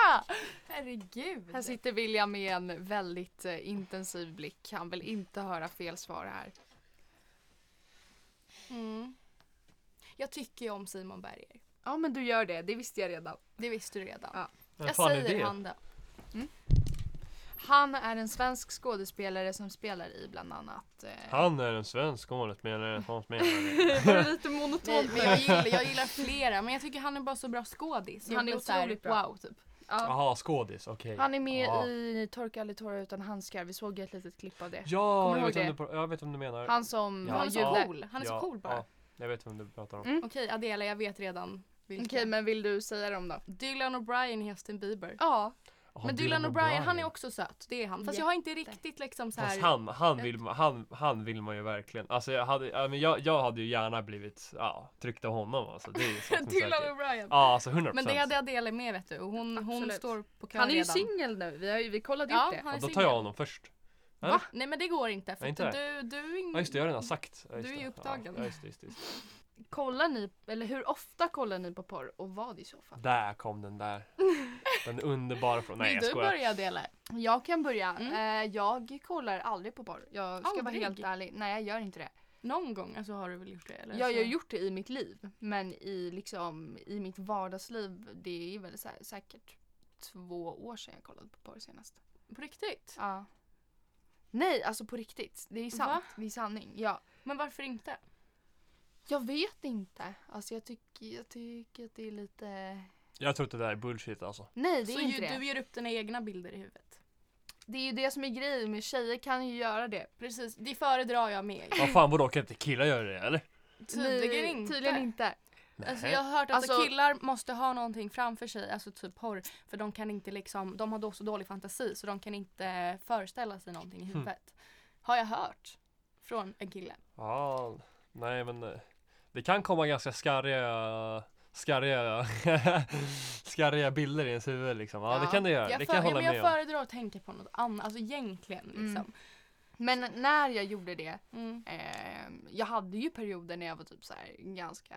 B: Herregud.
A: Här sitter William med en väldigt eh, intensiv blick. Han vill inte höra fel svar här.
B: Mm. Jag tycker ju om Simon Berger.
A: Ja men du gör det, det visste jag redan.
B: Det visste du redan.
A: Ja.
C: Vem
B: Jag
C: fan är
B: säger
C: det?
B: han då.
A: Han är en svensk skådespelare som spelar i bland annat... Eh,
C: Han är en svensk skådespelare. Hans menar det.
A: Det var lite monotont.
B: Nej, men jag, gillar, jag gillar flera men jag tycker han är bara så bra skådis. Jag
A: Han är
B: blir så här,
A: otroligt bra.
B: Wow, typ.
A: Ja.
C: Jaha, skådis. Okej.
A: Han är med
C: Ja.
A: i Torka eller tårar utan handskar. Vi såg ett litet klipp av det.
C: Ja,
A: Kommer du
C: jag vet,
A: ihåg
C: vem du, jag vet vem du menar.
A: Han som
C: Ja.
A: var
B: han är så
A: jude.
B: cool. Han är så cool bara.
C: Ja, jag vet vem du pratar om.
A: Mm.
B: Okej Adela jag vet redan
A: Okej
B: vilka.
A: men vill du säga dem då?
B: Dylan O'Brien är Justin Bieber.
A: Ja.
C: Ja,
B: Men Dylan O'Brien han är också söt. Det är han. Fast jag har inte riktigt liksom så här.
C: Fast han, han, vill, ma- han, han vill man ju verkligen. Alltså jag hade, ja, men jag, jag hade ju gärna blivit ja, tryckt av honom alltså. Det är ju så som
B: Dylan
C: säkert.
B: O'Brien.
C: Ja, alltså 100%.
B: Men det hade Adele med vet du och hon, hon
A: Absolut.
B: står på kön
A: Han är ju
B: redan.
A: singel nu. Vi, har ju, vi kollade
B: Ja,
A: upp det.
B: han är
C: ja, då tar
B: singel.
C: jag honom först.
B: Va? Nej men det går inte för
C: Nej, inte
B: att du,
C: det.
B: du är ingen...
C: Ja just det, jag har redan sagt. Ja, just
B: Du är
C: det.
B: ju upptagen.
C: Ja, just det, just det, just det.
A: Kollar ni, eller hur ofta kollar ni på porr och vad i så fall?
C: Där kom den där. Den underbara från... Nej
B: Vill
C: jag
B: du
C: skojar.
B: börja Adele?
A: Jag kan börja. Eh, jag kollar aldrig på porr. Jag ska vara
B: Aldrig?
A: helt ärlig. Nej jag gör inte det.
B: Någon gång alltså, har du väl gjort det? Eller?
A: Jag har
B: så...
A: ju gjort det i mitt liv. Men i, liksom, i mitt vardagsliv, det är väl så här, säkert två år sedan jag kollade på porr senast.
B: På riktigt?
A: Ja. Nej, alltså på riktigt. Det är sant.
B: Va?
A: Det är sanning. Ja.
B: Men varför inte?
A: Jag vet inte. Alltså jag tycker, jag tycker att det är lite...
C: Jag tror att det där är bullshit alltså.
A: Nej, det
B: så
A: är inte
B: ju,
A: det.
B: du gör upp dina egna bilder i huvudet?
A: Det är ju det som är grejen med tjejer kan ju göra det.
B: Precis, det föredrar jag med.
C: Vad fan vadå, kan inte killar göra det eller?
B: Tydligen
A: Nej,
B: inte.
A: Tydligen inte.
C: Nej.
B: Alltså jag har hört att
A: Alltså-
B: killar måste ha någonting framför sig, alltså typ porr. För de kan inte liksom, de har då så dålig fantasi så de kan inte föreställa sig någonting
C: Hm.
B: i huvudet. Har jag hört. Från en kille.
C: Ja, nej men eh, det kan komma ganska skarriga, skarriga, skarriga bilder i ens huvud liksom. Ja, det
A: Ja,
C: kan det göra.
B: Jag,
C: det
B: för,
C: kan jag
B: ja,
C: hålla
B: men jag
C: med om.
B: föredrar att tänka på något annat, alltså egentligen
A: Mm.
B: liksom.
A: Men när jag gjorde det,
B: Mm.
A: ehm, jag hade ju perioder när jag var typ så här ganska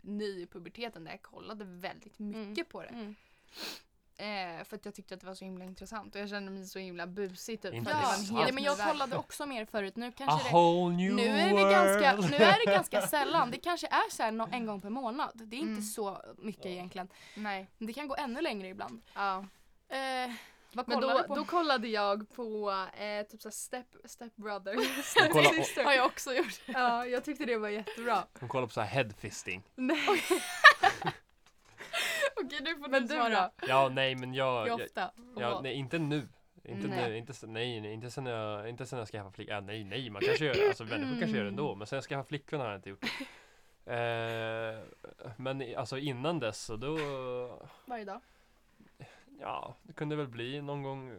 A: ny i puberteten där jag kollade väldigt mycket på det.
B: Mm.
A: Eh, för att jag tyckte att det var så himla intressant och jag kände mig så himla busig typ.
C: Inte
A: för att det var
B: Ja,
A: en
C: sant.
A: helt
B: nej, men jag
A: ny värld.
B: kollade också mer förut. Nu
C: A
B: kanske det
C: whole new
B: nu är, det
C: world.
B: ganska, nu är det ganska sällan. Det kanske är så här nå- en gång per månad. Det är inte
A: Mm.
B: så mycket egentligen.
A: Nej,
B: Men Det kan gå ännu längre ibland.
A: ja.
B: Eh, vad
A: Men
B: kollar
A: då,
B: du på?
A: då kollade jag på eh, typ såhär step, step brother.
C: Hon kollar,
B: Det har jag också gjort.
A: ja, jag tyckte det var jättebra.
C: hon kollar på så här headfisting.
A: Nej,
B: Okej, nu får
A: men du då?
C: Ja, nej men jag,
B: Hur
C: jag,
B: ofta?
C: ja, nej inte nu. Inte
A: Nej.
C: nu, inte, s- nej, nej, inte sen jag, inte sen jag skaffade flickvän. Ja, nej, nej, man kanske gör det. Alltså människor kanske gör det
B: Mm.
C: ändå. Men sen jag skaffade flickvän har jag inte gjort det. Eh, men i- alltså innan dess så då
B: Varje dag.
A: Alltså,
C: Ja, det kunde väl bli någon gång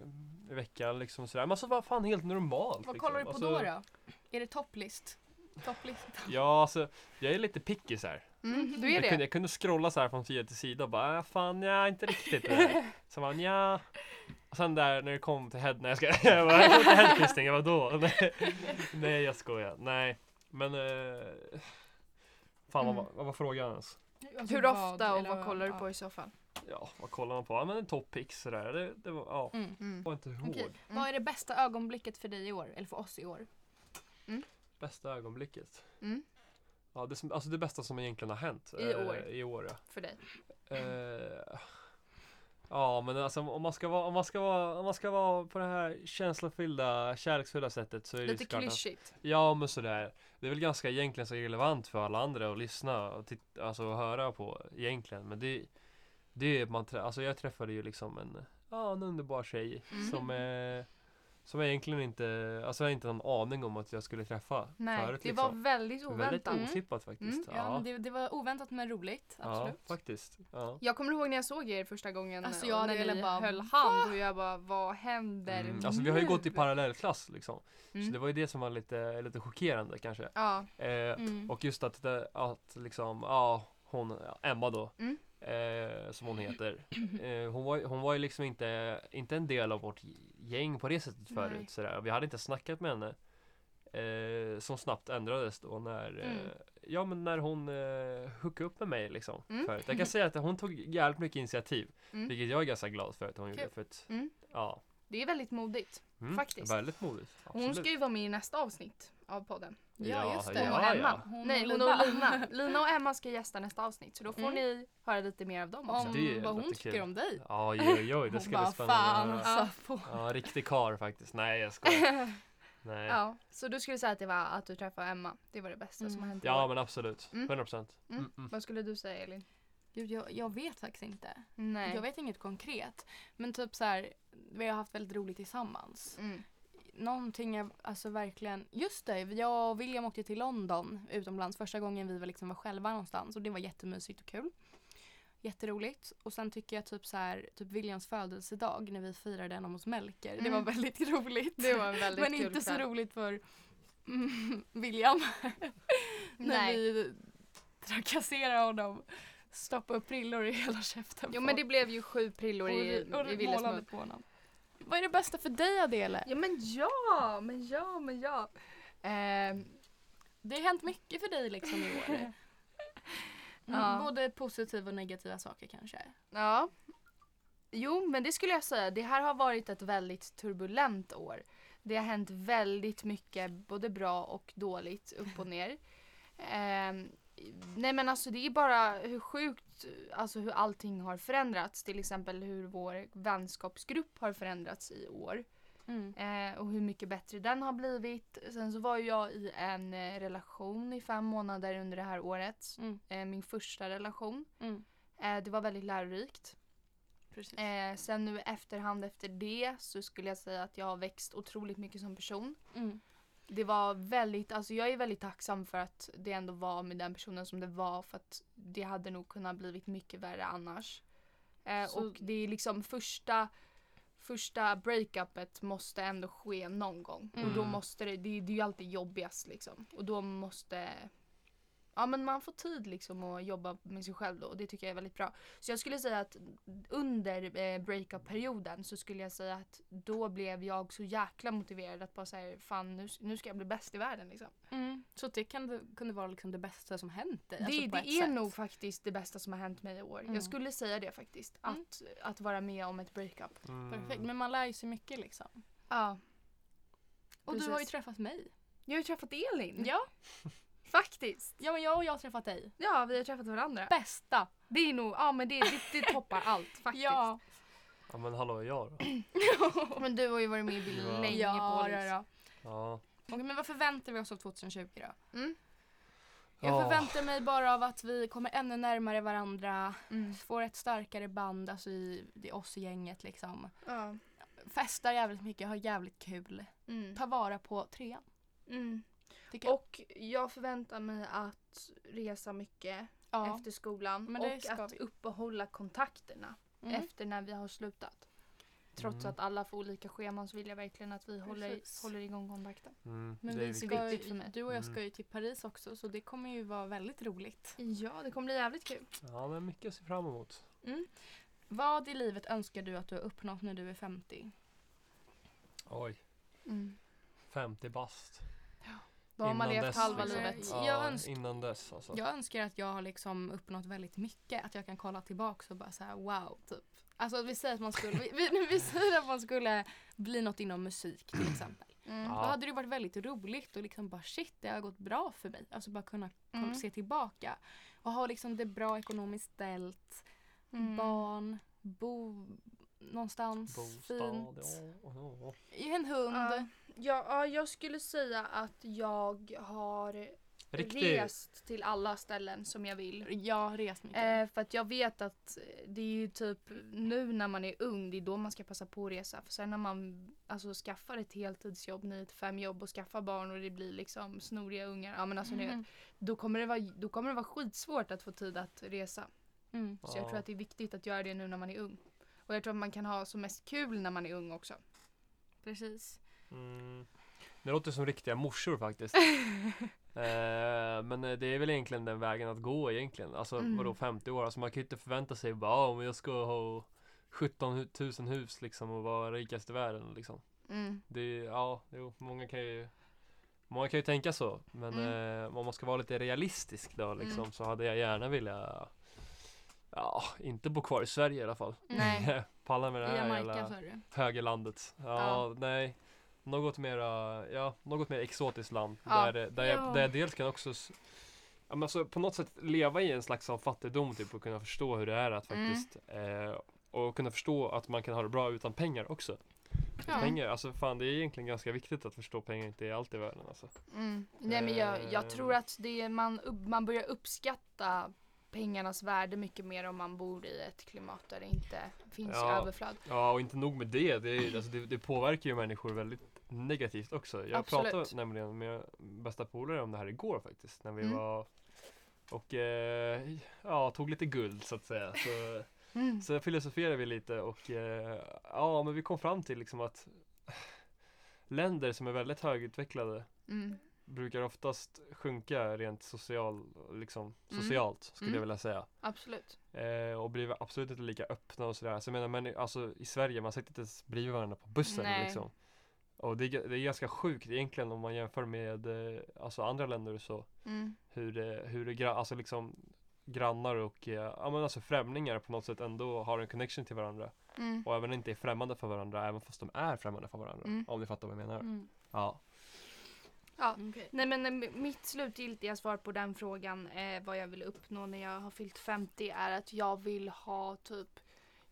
C: i veckan liksom sådär. Men alltså vad fan helt normalt.
B: Vad
C: liksom.
B: kollar du på
C: alltså,
B: då då? Är det topplist? Topplista?
C: Ja, alltså jag är lite picky så här.
A: Mm, du är
C: Jag kunde,
A: det?
C: jag kunde scrolla så här från sida till sida och bara äh, fan ja, inte riktigt det här. Så man ja. Och sen där när det kom till head, nej jag ska jag bara, jag headfisting, jag bara då? Nej, nej jag skojar, nej. Men eh, Fan
A: Mm.
C: vad, var- vad var frågan ens?
B: Alltså,
A: Hur
B: vad-
A: ofta och
B: eller
A: Typ vad kollar du
B: ja.
A: på i så fall?
C: Ja, vad kollar man på? Ja men en toppix sådär. Det, det var, ja.
B: Mm.
C: Jag kommer inte ihåg.
A: Okej. Mm.
B: Vad är det bästa ögonblicket för dig i år? Eller för oss i år?
C: Bästa ögonblicket.
A: Mm.
C: Ja, det, som, alltså det bästa som egentligen har hänt.
A: I
C: eh,
A: år.
C: I år ja.
A: För dig?
C: Eh, ja men alltså om man ska vara, om man ska vara, om man ska vara på det här känslofyllda, kärleksfulla sättet så är det
A: Lite
C: såklart att-
A: klyschigt.
C: Ja men sådär. Det är väl ganska egentligen så irrelevant för alla andra att lyssna och titta, alltså att höra på egentligen. Men det, det är att man trä- alltså jag träffade ju liksom en, ja en underbar tjej som eh, som jag egentligen inte, alltså jag har inte någon aning om att jag skulle träffa
A: Nej,
C: förut.
A: det
C: liksom.
A: var väldigt
C: Väldigt
A: oväntat.
B: Mm.
C: otippat faktiskt.
B: Ja,
C: ja.
B: men det, det var oväntat men roligt.
C: ja,
B: Absolut.
C: faktiskt. Ja.
A: Jag kommer ihåg när jag såg er första gången
B: Alltså,
A: och
B: jag hade
A: när ni
B: velat bara,
A: höll hand och jag bara vad händer
C: Mm. Alltså vi har ju
A: nu?"
C: gått i parallellklass liksom. Så
A: Mm.
C: det var ju det som var lite, lite chockerande kanske.
A: Ja,
C: Eh,
B: Mm.
C: Och just att, det, att liksom, ja hon, ja, Emma då.
A: Mm.
C: eh, som hon heter. Eh, hon, var, hon var ju liksom inte, inte en del av vårt gäng på det sättet
B: Nej.
C: förut. Sådär. Vi hade inte snackat med henne. Eh, som snabbt ändrades då när, eh,
B: Mm.
C: ja, men när hon eh, hookade upp med mig. Liksom,
A: Mm.
C: förut. Jag kan säga att hon tog jävligt mycket initiativ.
A: Mm.
C: Vilket jag är ganska glad för att hon
B: Kul.
C: gjorde. För att,
A: Mm.
C: ja,
A: Det är väldigt modigt.
C: mm,
A: Faktiskt.
C: Väldigt modigt.
A: Hon
C: absolut.
A: ska ju vara med i nästa avsnitt av podden.
B: Ja, just det.
A: Hon och Emma.
B: Hon
A: Nej,
B: och
A: hon
B: Lina.
A: och Lina. Lina och Emma ska gästa nästa avsnitt så då får
B: Mm.
A: ni höra lite mer av dem också.
B: Om
C: Alltså, Det
B: vad hon
C: låter
B: tycker
C: kul.
B: om dig.
C: Ja, oj, oj, oj, det
B: Hon
C: ska
B: bara,
C: bli
B: fan
C: spännande.
B: alltså. På.
C: Ja, riktig kar faktiskt. Nej, jag skojar. Nej. Ja.
A: Ja, så du skulle säga att det var att du träffade Emma. Det var det bästa som
B: Mm.
A: har hänt i
C: ja,
A: år.
C: men absolut.
A: Mm.
C: 100 procent.
A: Mm.
C: Mm. Mm.
A: Vad skulle du säga Elin?
B: Gud, jag, jag vet faktiskt inte.
A: Nej.
B: Jag vet inget konkret. Men typ så här, vi har haft väldigt roligt tillsammans.
A: Mm.
B: Någonting jag alltså verkligen, just det, jag och William åkte till London utomlands första gången vi var, liksom var själva någonstans och det var jättemysigt och kul. Jätteroligt. Och sen tycker jag typ så här, typ Williams födelsedag när vi firade den hos Melker. Det var
A: Mm.
B: väldigt roligt.
A: Det var en väldigt
B: men
A: kul
B: inte så
A: kväll.
B: roligt för mm, William när
A: Nej.
B: vi trakasserar honom. Stoppa upp prillor i hela käften.
A: Jo
B: på
A: men det blev ju sju prillor i,
B: honom och,
A: i
B: och
A: Willes
B: målade
A: mun.
B: på honom. Vad är det bästa för dig Adele?
A: Ja men ja, men ja, men ja. Ehm,
B: Det har hänt mycket för dig liksom i år. Mm,
A: Ja.
B: Både positiva och negativa saker kanske.
A: Ja. Jo, men det skulle jag säga. Det här har varit ett väldigt turbulent år. Det har hänt väldigt mycket, både bra och dåligt, upp och ner. Ehm, nej men alltså det är bara hur sjukt, alltså hur allting har förändrats. Till exempel hur vår vänskapsgrupp har förändrats i år.
B: Mm.
A: Eh, och hur mycket bättre den har blivit. Sen så var ju jag i en eh, relation i fem månader under det här året.
B: Mm.
A: Eh, min första relation.
B: Mm.
A: Eh, det var väldigt lärorikt.
B: Precis.
A: Eh, sen nu i efterhand efter det så skulle jag säga att jag har växt otroligt mycket som person.
B: Mm.
A: Det var väldigt, alltså jag är väldigt tacksam för att det ändå var med den personen som det var för att det hade nog kunnat blivit mycket värre annars. Eh,
B: Så-
A: och det är liksom första, första breakupet måste ändå ske någon gång. Och då
C: Mm.
A: måste det, det, det är ju alltid jobbigast liksom. Och då måste, ja men man får tid liksom att jobba med sig själv då och det tycker jag är väldigt bra. Så jag skulle säga att under eh, breakup-perioden så skulle jag säga att då blev jag så jäkla motiverad att bara säga fan nu, nu ska jag bli bäst i världen liksom.
B: Mm. Så det kan, det- kunde vara liksom det bästa som hänt dig.
A: Det,
B: alltså på
A: det
B: ett
A: är
B: sätt.
A: nog faktiskt det bästa som har hänt mig i år.
B: Mm.
A: Jag skulle säga det faktiskt.
B: Mm.
A: Att, att vara med om ett breakup.
B: Perfekt.
C: Mm.
B: Men man lär ju sig mycket liksom.
A: Ja.
B: Och du har ju
A: Precis.
B: träffat mig.
A: Jag har ju träffat Elin.
B: Ja,
A: Faktiskt.
B: ja men jag och jag har träffat dig.
A: Ja, vi har träffat varandra.
B: Bästa!
A: Det är nog, ja men det, det, det toppar allt faktiskt.
B: Ja.
C: Ja, men hallå, jag då?
A: Men du har ju varit med i bild
C: Ja.
A: länge på
B: ja,
A: liksom.
B: ja.
C: Ja.
B: Okej, men vad förväntar vi oss av 2020 då?
A: Mm.
B: Jag
C: Ja.
B: förväntar mig bara av att vi kommer ännu närmare varandra,
A: Mm.
B: får ett starkare band, alltså i, i oss i gänget liksom.
A: Ja.
B: Festar jävligt mycket, har jävligt kul.
A: Mm.
B: Ta vara på trean,
A: Mm.
B: tycker jag.
A: Och jag förväntar mig att resa mycket
B: ja.
A: efter skolan
B: Men det
A: och
B: ska
A: att
B: vi.
A: uppehålla kontakterna
B: Mm.
A: efter när vi har slutat. Trots
C: Mm.
A: att alla får olika scheman så vill jag verkligen att vi
B: Precis.
A: håller, håller igång kontakten.
C: Mm,
B: Men
C: det är
B: vi
C: viktigt.
B: ska,
A: viktigt för mig.
B: du och jag
C: Mm.
B: ska ju till Paris också så det kommer ju vara väldigt roligt.
A: Ja, det kommer bli jävligt kul.
C: Ja, men mycket att se fram emot.
B: Vad i livet önskar du att du har uppnått när du är 50?
C: Oj,
A: Mm.
C: 50 bast.
A: Då har man
C: Innan
A: levt
C: dess,
A: halva
B: liksom.
A: livet.
C: Ja,
B: Jag önsk-
C: innan dess alltså.
B: Jag önskar att jag har liksom uppnått väldigt mycket. Att jag kan kolla tillbaka och bara så här wow. Typ. Alltså vi säger att man skulle, vi, vi, vi säger att man skulle bli något inom musik till exempel.
A: Mm.
C: Ja.
B: Då hade det varit väldigt roligt och liksom bara shit det har gått bra för mig. Alltså bara kunna kom-
A: Mm.
B: se tillbaka. Och ha liksom det bra ekonomiskt ställt.
A: Mm.
B: Barn, bo någonstans
C: Bostad,
B: fint.
C: ja, ja.
B: En hund.
A: Ja. Ja, ja, jag skulle säga att jag har
C: Riktigt.
A: rest till alla ställen som jag vill.
B: Ja, res mycket.
A: Eh, för att jag vet att det är ju typ nu när man är ung, det är då man ska passa på att resa. För sen när man alltså, skaffar ett heltidsjobb, 9 till 5 jobb och skaffar barn och det blir liksom snoriga ungar. Ja men alltså ni vet.
B: Mhm.
A: Då kommer, det vara, då kommer det vara skitsvårt att få tid att resa.
B: Mm.
A: Så jag
C: Ja.
A: tror att det är viktigt att göra det nu när man är ung. Och jag tror att man kan ha som mest kul när man är ung också.
B: Precis.
C: Mm. Det låter som riktiga morsor faktiskt. Eh, men eh, det är väl egentligen den vägen att gå egentligen. Alltså
B: Mm.
C: vadå 50 år? Alltså man kan ju inte förvänta sig bara "Ah, om jag ska ha 17 hu- 000 hus liksom och vara rikast i världen liksom.
A: Mm.
C: Det är, ja, jo, många kan ju Många kan ju tänka så, men
B: Mm.
C: eh, om man ska vara lite realistisk då liksom
A: Mm.
C: så hade jag gärna vilja Ja, inte bo kvar i Sverige i alla fall.
B: Nej.
C: Palla med det
B: I
C: här
B: Jamaica
C: jävla
B: sa du. Mm.
C: högerlandet. Ja, nej. Något mera, ja, något mer exotiskt land.
A: Ja.
C: Där, där, jag,
B: Ja.
C: där jag dels kan också s- ja, men alltså, på något sätt leva i en slags av fattigdom typ och kunna förstå hur det är att
A: Mm.
C: faktiskt eh, och kunna förstå att man kan ha det bra utan pengar också.
B: Ja.
C: Pengar, alltså fan det är egentligen ganska viktigt att förstå pengar inte är allt i världen alltså.
A: Mm. Nej men jag, jag
C: Eh.
A: tror att det är man, upp, man börjar uppskatta pengarnas värde mycket mer om man bor i ett klimat där det inte finns
C: Ja.
A: överflöd.
C: Ja, och inte nog med det. Det, är, alltså, det, det påverkar ju människor väldigt negativt också. Jag
A: Absolut.
C: pratade nämligen med bästa polare om det här igår faktiskt. När vi
A: Mm.
C: var och eh, ja, tog lite guld så att säga. Så,
A: Mm.
C: så filosoferade vi lite och eh, ja, men vi kom fram till liksom att länder som är väldigt högutvecklade
A: Mm.
C: brukar oftast sjunka rent social, liksom,
A: Mm.
C: socialt skulle
A: Mm.
C: jag vilja säga.
A: Absolut.
C: Eh, och blir absolut inte lika öppna och sådär. Så jag menar, men alltså i Sverige, man sitter inte ens bredvid varandra på bussen
A: Nej.
C: liksom. Och det är, ga- det är ganska sjukt egentligen om man jämför med eh, alltså andra länder och så.
A: Mm.
C: Hur det, hur det gra- alltså liksom grannar och eh, ja, men alltså främlingar på något sätt ändå har en connection till varandra.
A: Mm.
C: Och även inte är främmande för varandra, även fast de är främmande för varandra.
A: Mm.
C: Om ni fattar vad jag menar.
B: Mm.
C: Ja.
A: Ja.
B: Okej.
A: Nej men eh, mitt slutgiltiga svar på den frågan, eh, vad jag vill uppnå när jag har fyllt 50 är att jag vill ha typ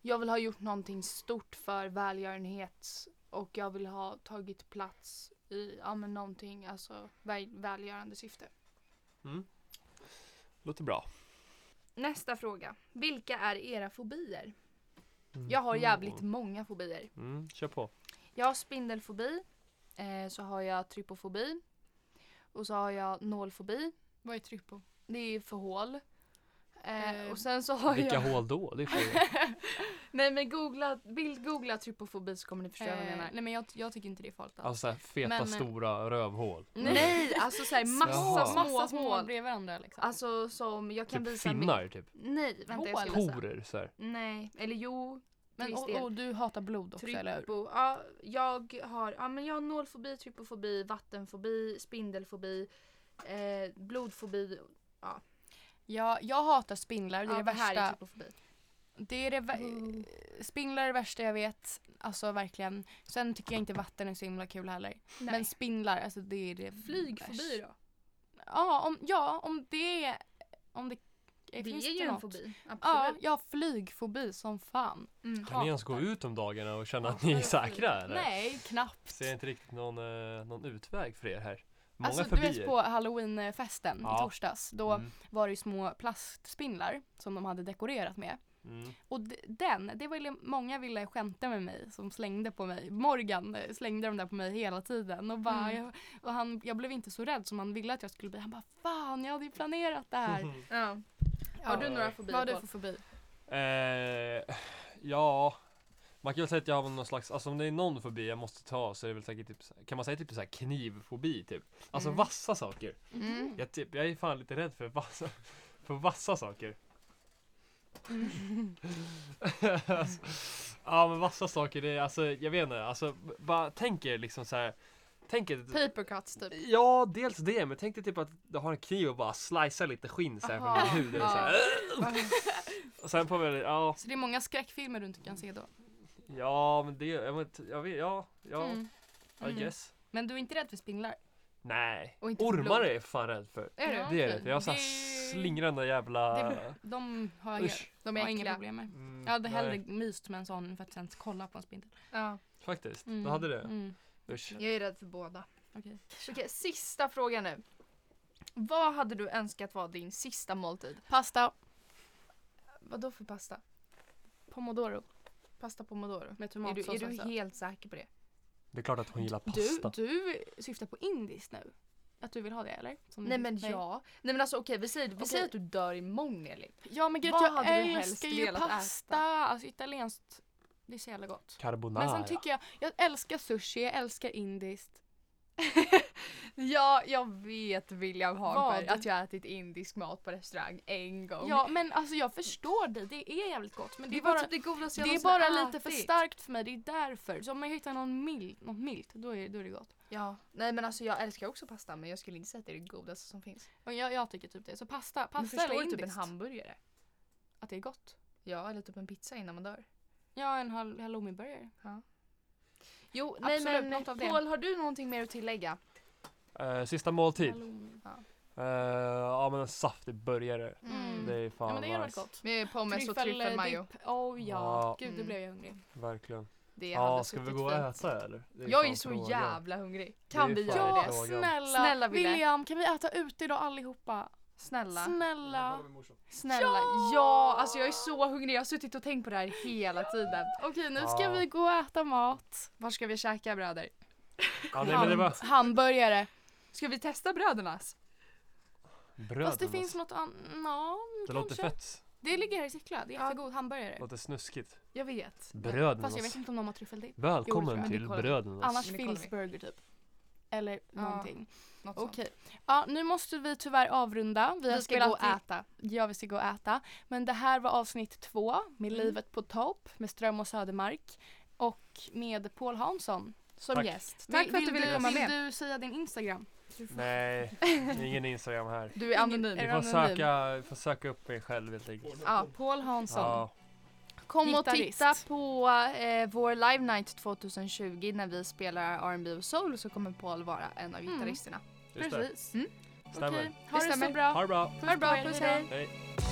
A: Jag vill ha gjort någonting stort för välgörenhet och jag vill ha tagit plats i ja, men någonting, alltså väl, välgörande syfte.
C: Mm. Låter bra.
A: Nästa fråga. Vilka är era fobier? Jag har jävligt många fobier.
C: Mm, kör på.
A: Jag har spindelfobi, eh, så har jag trypofobi och så har jag nålfobi.
B: Vad är tryppo?
A: Det är för hål. Eh,
B: Eh,
A: och sen så har
C: Vilka
A: jag...
C: hål då? Det är frågan.
A: Nej men googla, bild, googla trypofobi så kommer ni förstå vad jag
B: Eh,
A: menar.
B: nej men jag, jag tycker inte det är farligt alls.
C: alltså såhär feta
B: Men-
C: stora rövhål.
A: Nej, alltså såhär massa
C: Jaha.
A: små,
B: Massa små hål
A: hål.
B: bredvid varandra liksom.
A: Alltså som jag kan
C: Typ
A: visa
C: finnar typ.
A: min- Nej, vänta jag ska
B: Hål.
A: visa.
C: Horer såhär.
A: Nej, eller jo.
B: men,
A: till viss
B: och,
A: del.
B: och du hatar blod också eller hur?
A: Trypo, ja, jag har, ja, men jag har nålfobi, trypofobi, vattenfobi, spindelfobi, eh, blodfobi.
B: Ja, jag hatar spindlar. Det är
A: ja,
B: det
A: det här är typ- Mm.
B: värsta.
A: trypofobi.
B: Det är det vä- spindlar är det värsta jag vet. Alltså verkligen. Sen tycker jag inte vatten är så himla kul heller.
A: Nej.
B: Men spindlar, alltså det är det
A: Flygfobi
B: värsta.
A: då?
B: Ja, om, ja, om det är... Om det,
A: Det,
B: finns
A: är ju
B: något?
A: en fobi,
B: Ja,
A: absolut.
B: jag har flygfobi som fan.
A: Mm.
C: Kan ni ens gå ut om dagarna och känna att ni är säkra eller?
B: alltså, Nej, knappt.
C: Ser jag inte riktigt någon, eh, någon utväg för er här. Många
B: Alltså du
C: fobier.
B: vet på halloweenfesten
C: Ja.
B: i torsdags. Då
C: Mm,
B: var det ju små plastspindlar som de hade dekorerat med.
C: mm.
B: Och d- den, det var ju- många ville skämta med mig som slängde på mig. Morgan eh, slängde de där på mig hela tiden. Och, bara,
A: Mm.
B: jag, och han, jag blev inte så rädd som han ville att jag skulle bli. Han bara fan jag hade ju planerat det här.
A: Ja. Har du några fobier?
B: Vad har du
A: Paul?
B: för fobi?
C: Eh, ja, man kan väl säga att jag har väl någon slags, alltså om det är någon fobi jag måste ta så är det väl säkert typ, så- kan man säga typ så här knivfobi typ? Alltså
A: Mm.
C: vassa saker.
A: Mm.
C: Jag, typ, jag är fan lite rädd för vassa, för vassa saker. alltså, ja men vassa saker, det är alltså, jag vet inte, alltså b- bara tänk er liksom så här. Tänk er,
A: Paper cuts typ.
C: ja dels det, men tänk dig typ att du har en kniv och bara slicear lite skinn så här från
A: Aha,
C: din hud. eller Så här. Och sen på väl, ja,
B: Så det är många skräckfilmer du inte kan se då.
C: ja men det, jag vet, jag vet ja, ja,
B: Mm.
C: I guess.
B: Men du är inte rädd för spindlar?
C: Nej,
A: Och inte för
C: ormar
A: blod.
C: är jag fan rädd för.
A: Är du?
B: Ja.
C: Det är
B: Okej.
C: det, jag har såhär
B: Det-
C: slingrande jävla...
B: Det- De har, jag,
C: Usch.
A: De
B: har
A: är
B: inga
A: äckliga.
B: problem med.
C: Mm,
B: Jag hade hellre
C: nej,
B: myst med en sån än för att sen kolla på en spindel.
A: Ja,
C: Faktiskt, du hade det.
B: Mm.
C: Usch.
A: jag är rädd för båda.
B: Okej.
A: Okej, sista frågan nu. Vad hade du önskat var din sista måltid?
B: Pasta,
A: Vad då för pasta?
B: pomodoro
A: Pasta pomodoro? alltså.
B: med
A: Är du,
B: tomatsås
A: är du
B: också.
A: helt säker på det?
C: Det är klart att hon gillar
B: Du,
C: pasta.
B: du syftar på indiskt nu? Att du vill ha det eller? Som
A: Nej
B: ni-
A: men ja. Nej men alltså okej vi säger, vi
B: Okej.
A: säger att du dör i mångel.
B: Ja men gud,
A: Vad
B: jag
A: hade du helst
B: älskar ju
A: velat
B: pasta.
A: äta?
B: Alltså italienskt, det är så jävla gott.
C: Carbonara.
B: Men sen tycker jag, jag älskar sushi, jag älskar indiskt.
A: Ja, jag vet William Hagberg
B: Vad?
A: att jag har ätit indisk mat på restaurang en
C: Oh
A: gång.
B: Ja men alltså jag förstår dig, det är jävligt gott. Men det,
A: det
B: är bara,
A: var typ det godaste jag
B: det är
A: någonsin
B: bara lite för
A: ätit.
B: starkt för mig, det är därför. Så om jag hittar någon mild, något milt, då är, då är det gott.
A: Ja, nej men alltså jag älskar också pasta men jag skulle inte säga att det är det godaste som finns.
B: Och jag, jag tycker typ det. Så pasta,
A: Men
B: pasta eller
A: förstår du
B: indiskt.
A: typ en hamburgare?
B: att det är gott.
A: Ja, eller typ en pizza innan man dör.
B: Ja, en hal- halloumiburgare.
A: Jo, nej
B: Absolut,
A: men
B: något av det.
A: Paul, har du någonting mer att tillägga?
C: Eh, sista måltid.
B: Halloumi.
C: Eh, ja men en saftig burgare.
B: Mm.
C: Det är fan
B: Ja men det är
C: nice.
B: väldigt gott.
A: Med pommes och tryffelmajo.
B: Tryffeldipp. Oh ja,
C: Ja.
B: gud nu
A: Mm.
B: blev jag hungrig.
C: Verkligen.
A: Det
C: Ja,
A: hade
C: ska vi
A: suttit
C: gå och
A: fint.
C: äta eller? Det
A: Jag är
C: fan
A: så
C: frågan.
A: jävla hungrig.
C: Det
A: Kan
C: är
A: vi
C: fan
A: göra
B: Ja,
A: det?
C: frågan.
B: snälla.
A: Snälla, Wille.
B: William, kan vi äta ute idag allihopa?
A: Snälla.
B: Snälla.
A: Snälla.
B: Ja!
A: Ja! alltså jag är så hungrig. Jag har suttit och tänkt på det här hela tiden.
B: Okej, nu
C: Ja.
B: ska vi gå och äta mat.
A: Var ska vi käka bröder?
C: Ja, nej, men det var
B: Hamburgare.
A: Ska vi testa brödernas?
C: bröd.
B: Fast det finns något annat. No,
C: Det låter fett.
B: Det ligger här i Sickla. Det är
A: Ja.
B: jättegod hamburgare.
C: Det låter snuskigt.
A: Jag vet.
B: Fast jag vet
C: Brödernas.
B: inte om de har tryffeldipp.
C: Välkommen
B: Jo, det
C: till
A: tror jag.
C: Brödernas.
B: Annars
A: Men det kollar vi.
B: Phil's Burger typ. Eller
A: Ja,
B: någonting.
A: Något sånt.
B: Okej. Ja, nu måste vi tyvärr avrunda. Vi, har
A: Vi ska gå och
B: i-
A: äta.
B: Ja, vi ska gå och äta. Men det här var avsnitt två med
A: Mm.
B: Livet på topp med Ström och Södermark och med Paul Hansson som
C: Tack.
B: gäst.
A: Tack för att du ville komma med.
B: Vill du säga din Instagram?
C: Nej, ingen Instagram här.
A: Du är anonym.
B: Är
C: Ni
B: du
C: får
B: anonym?
C: söka, vi får söka upp mig själv helt enkelt.
A: Ja.
B: Paul Hansson.
C: Ja,
A: Kom och
B: Gitarrist.
A: titta på eh, vår Live Night 2020 när vi spelar R&B och soul så kommer Paul vara en av
B: Mm.
A: gitarristerna.
C: just det.
B: Precis.
A: Mm.
C: Stämmer.
B: Okej, ha det så
A: stämmer.
B: bra.
C: Ha det bra.
A: Ha det bra,
B: på er,
A: puss
B: hejdå.
A: hej!
C: Hej.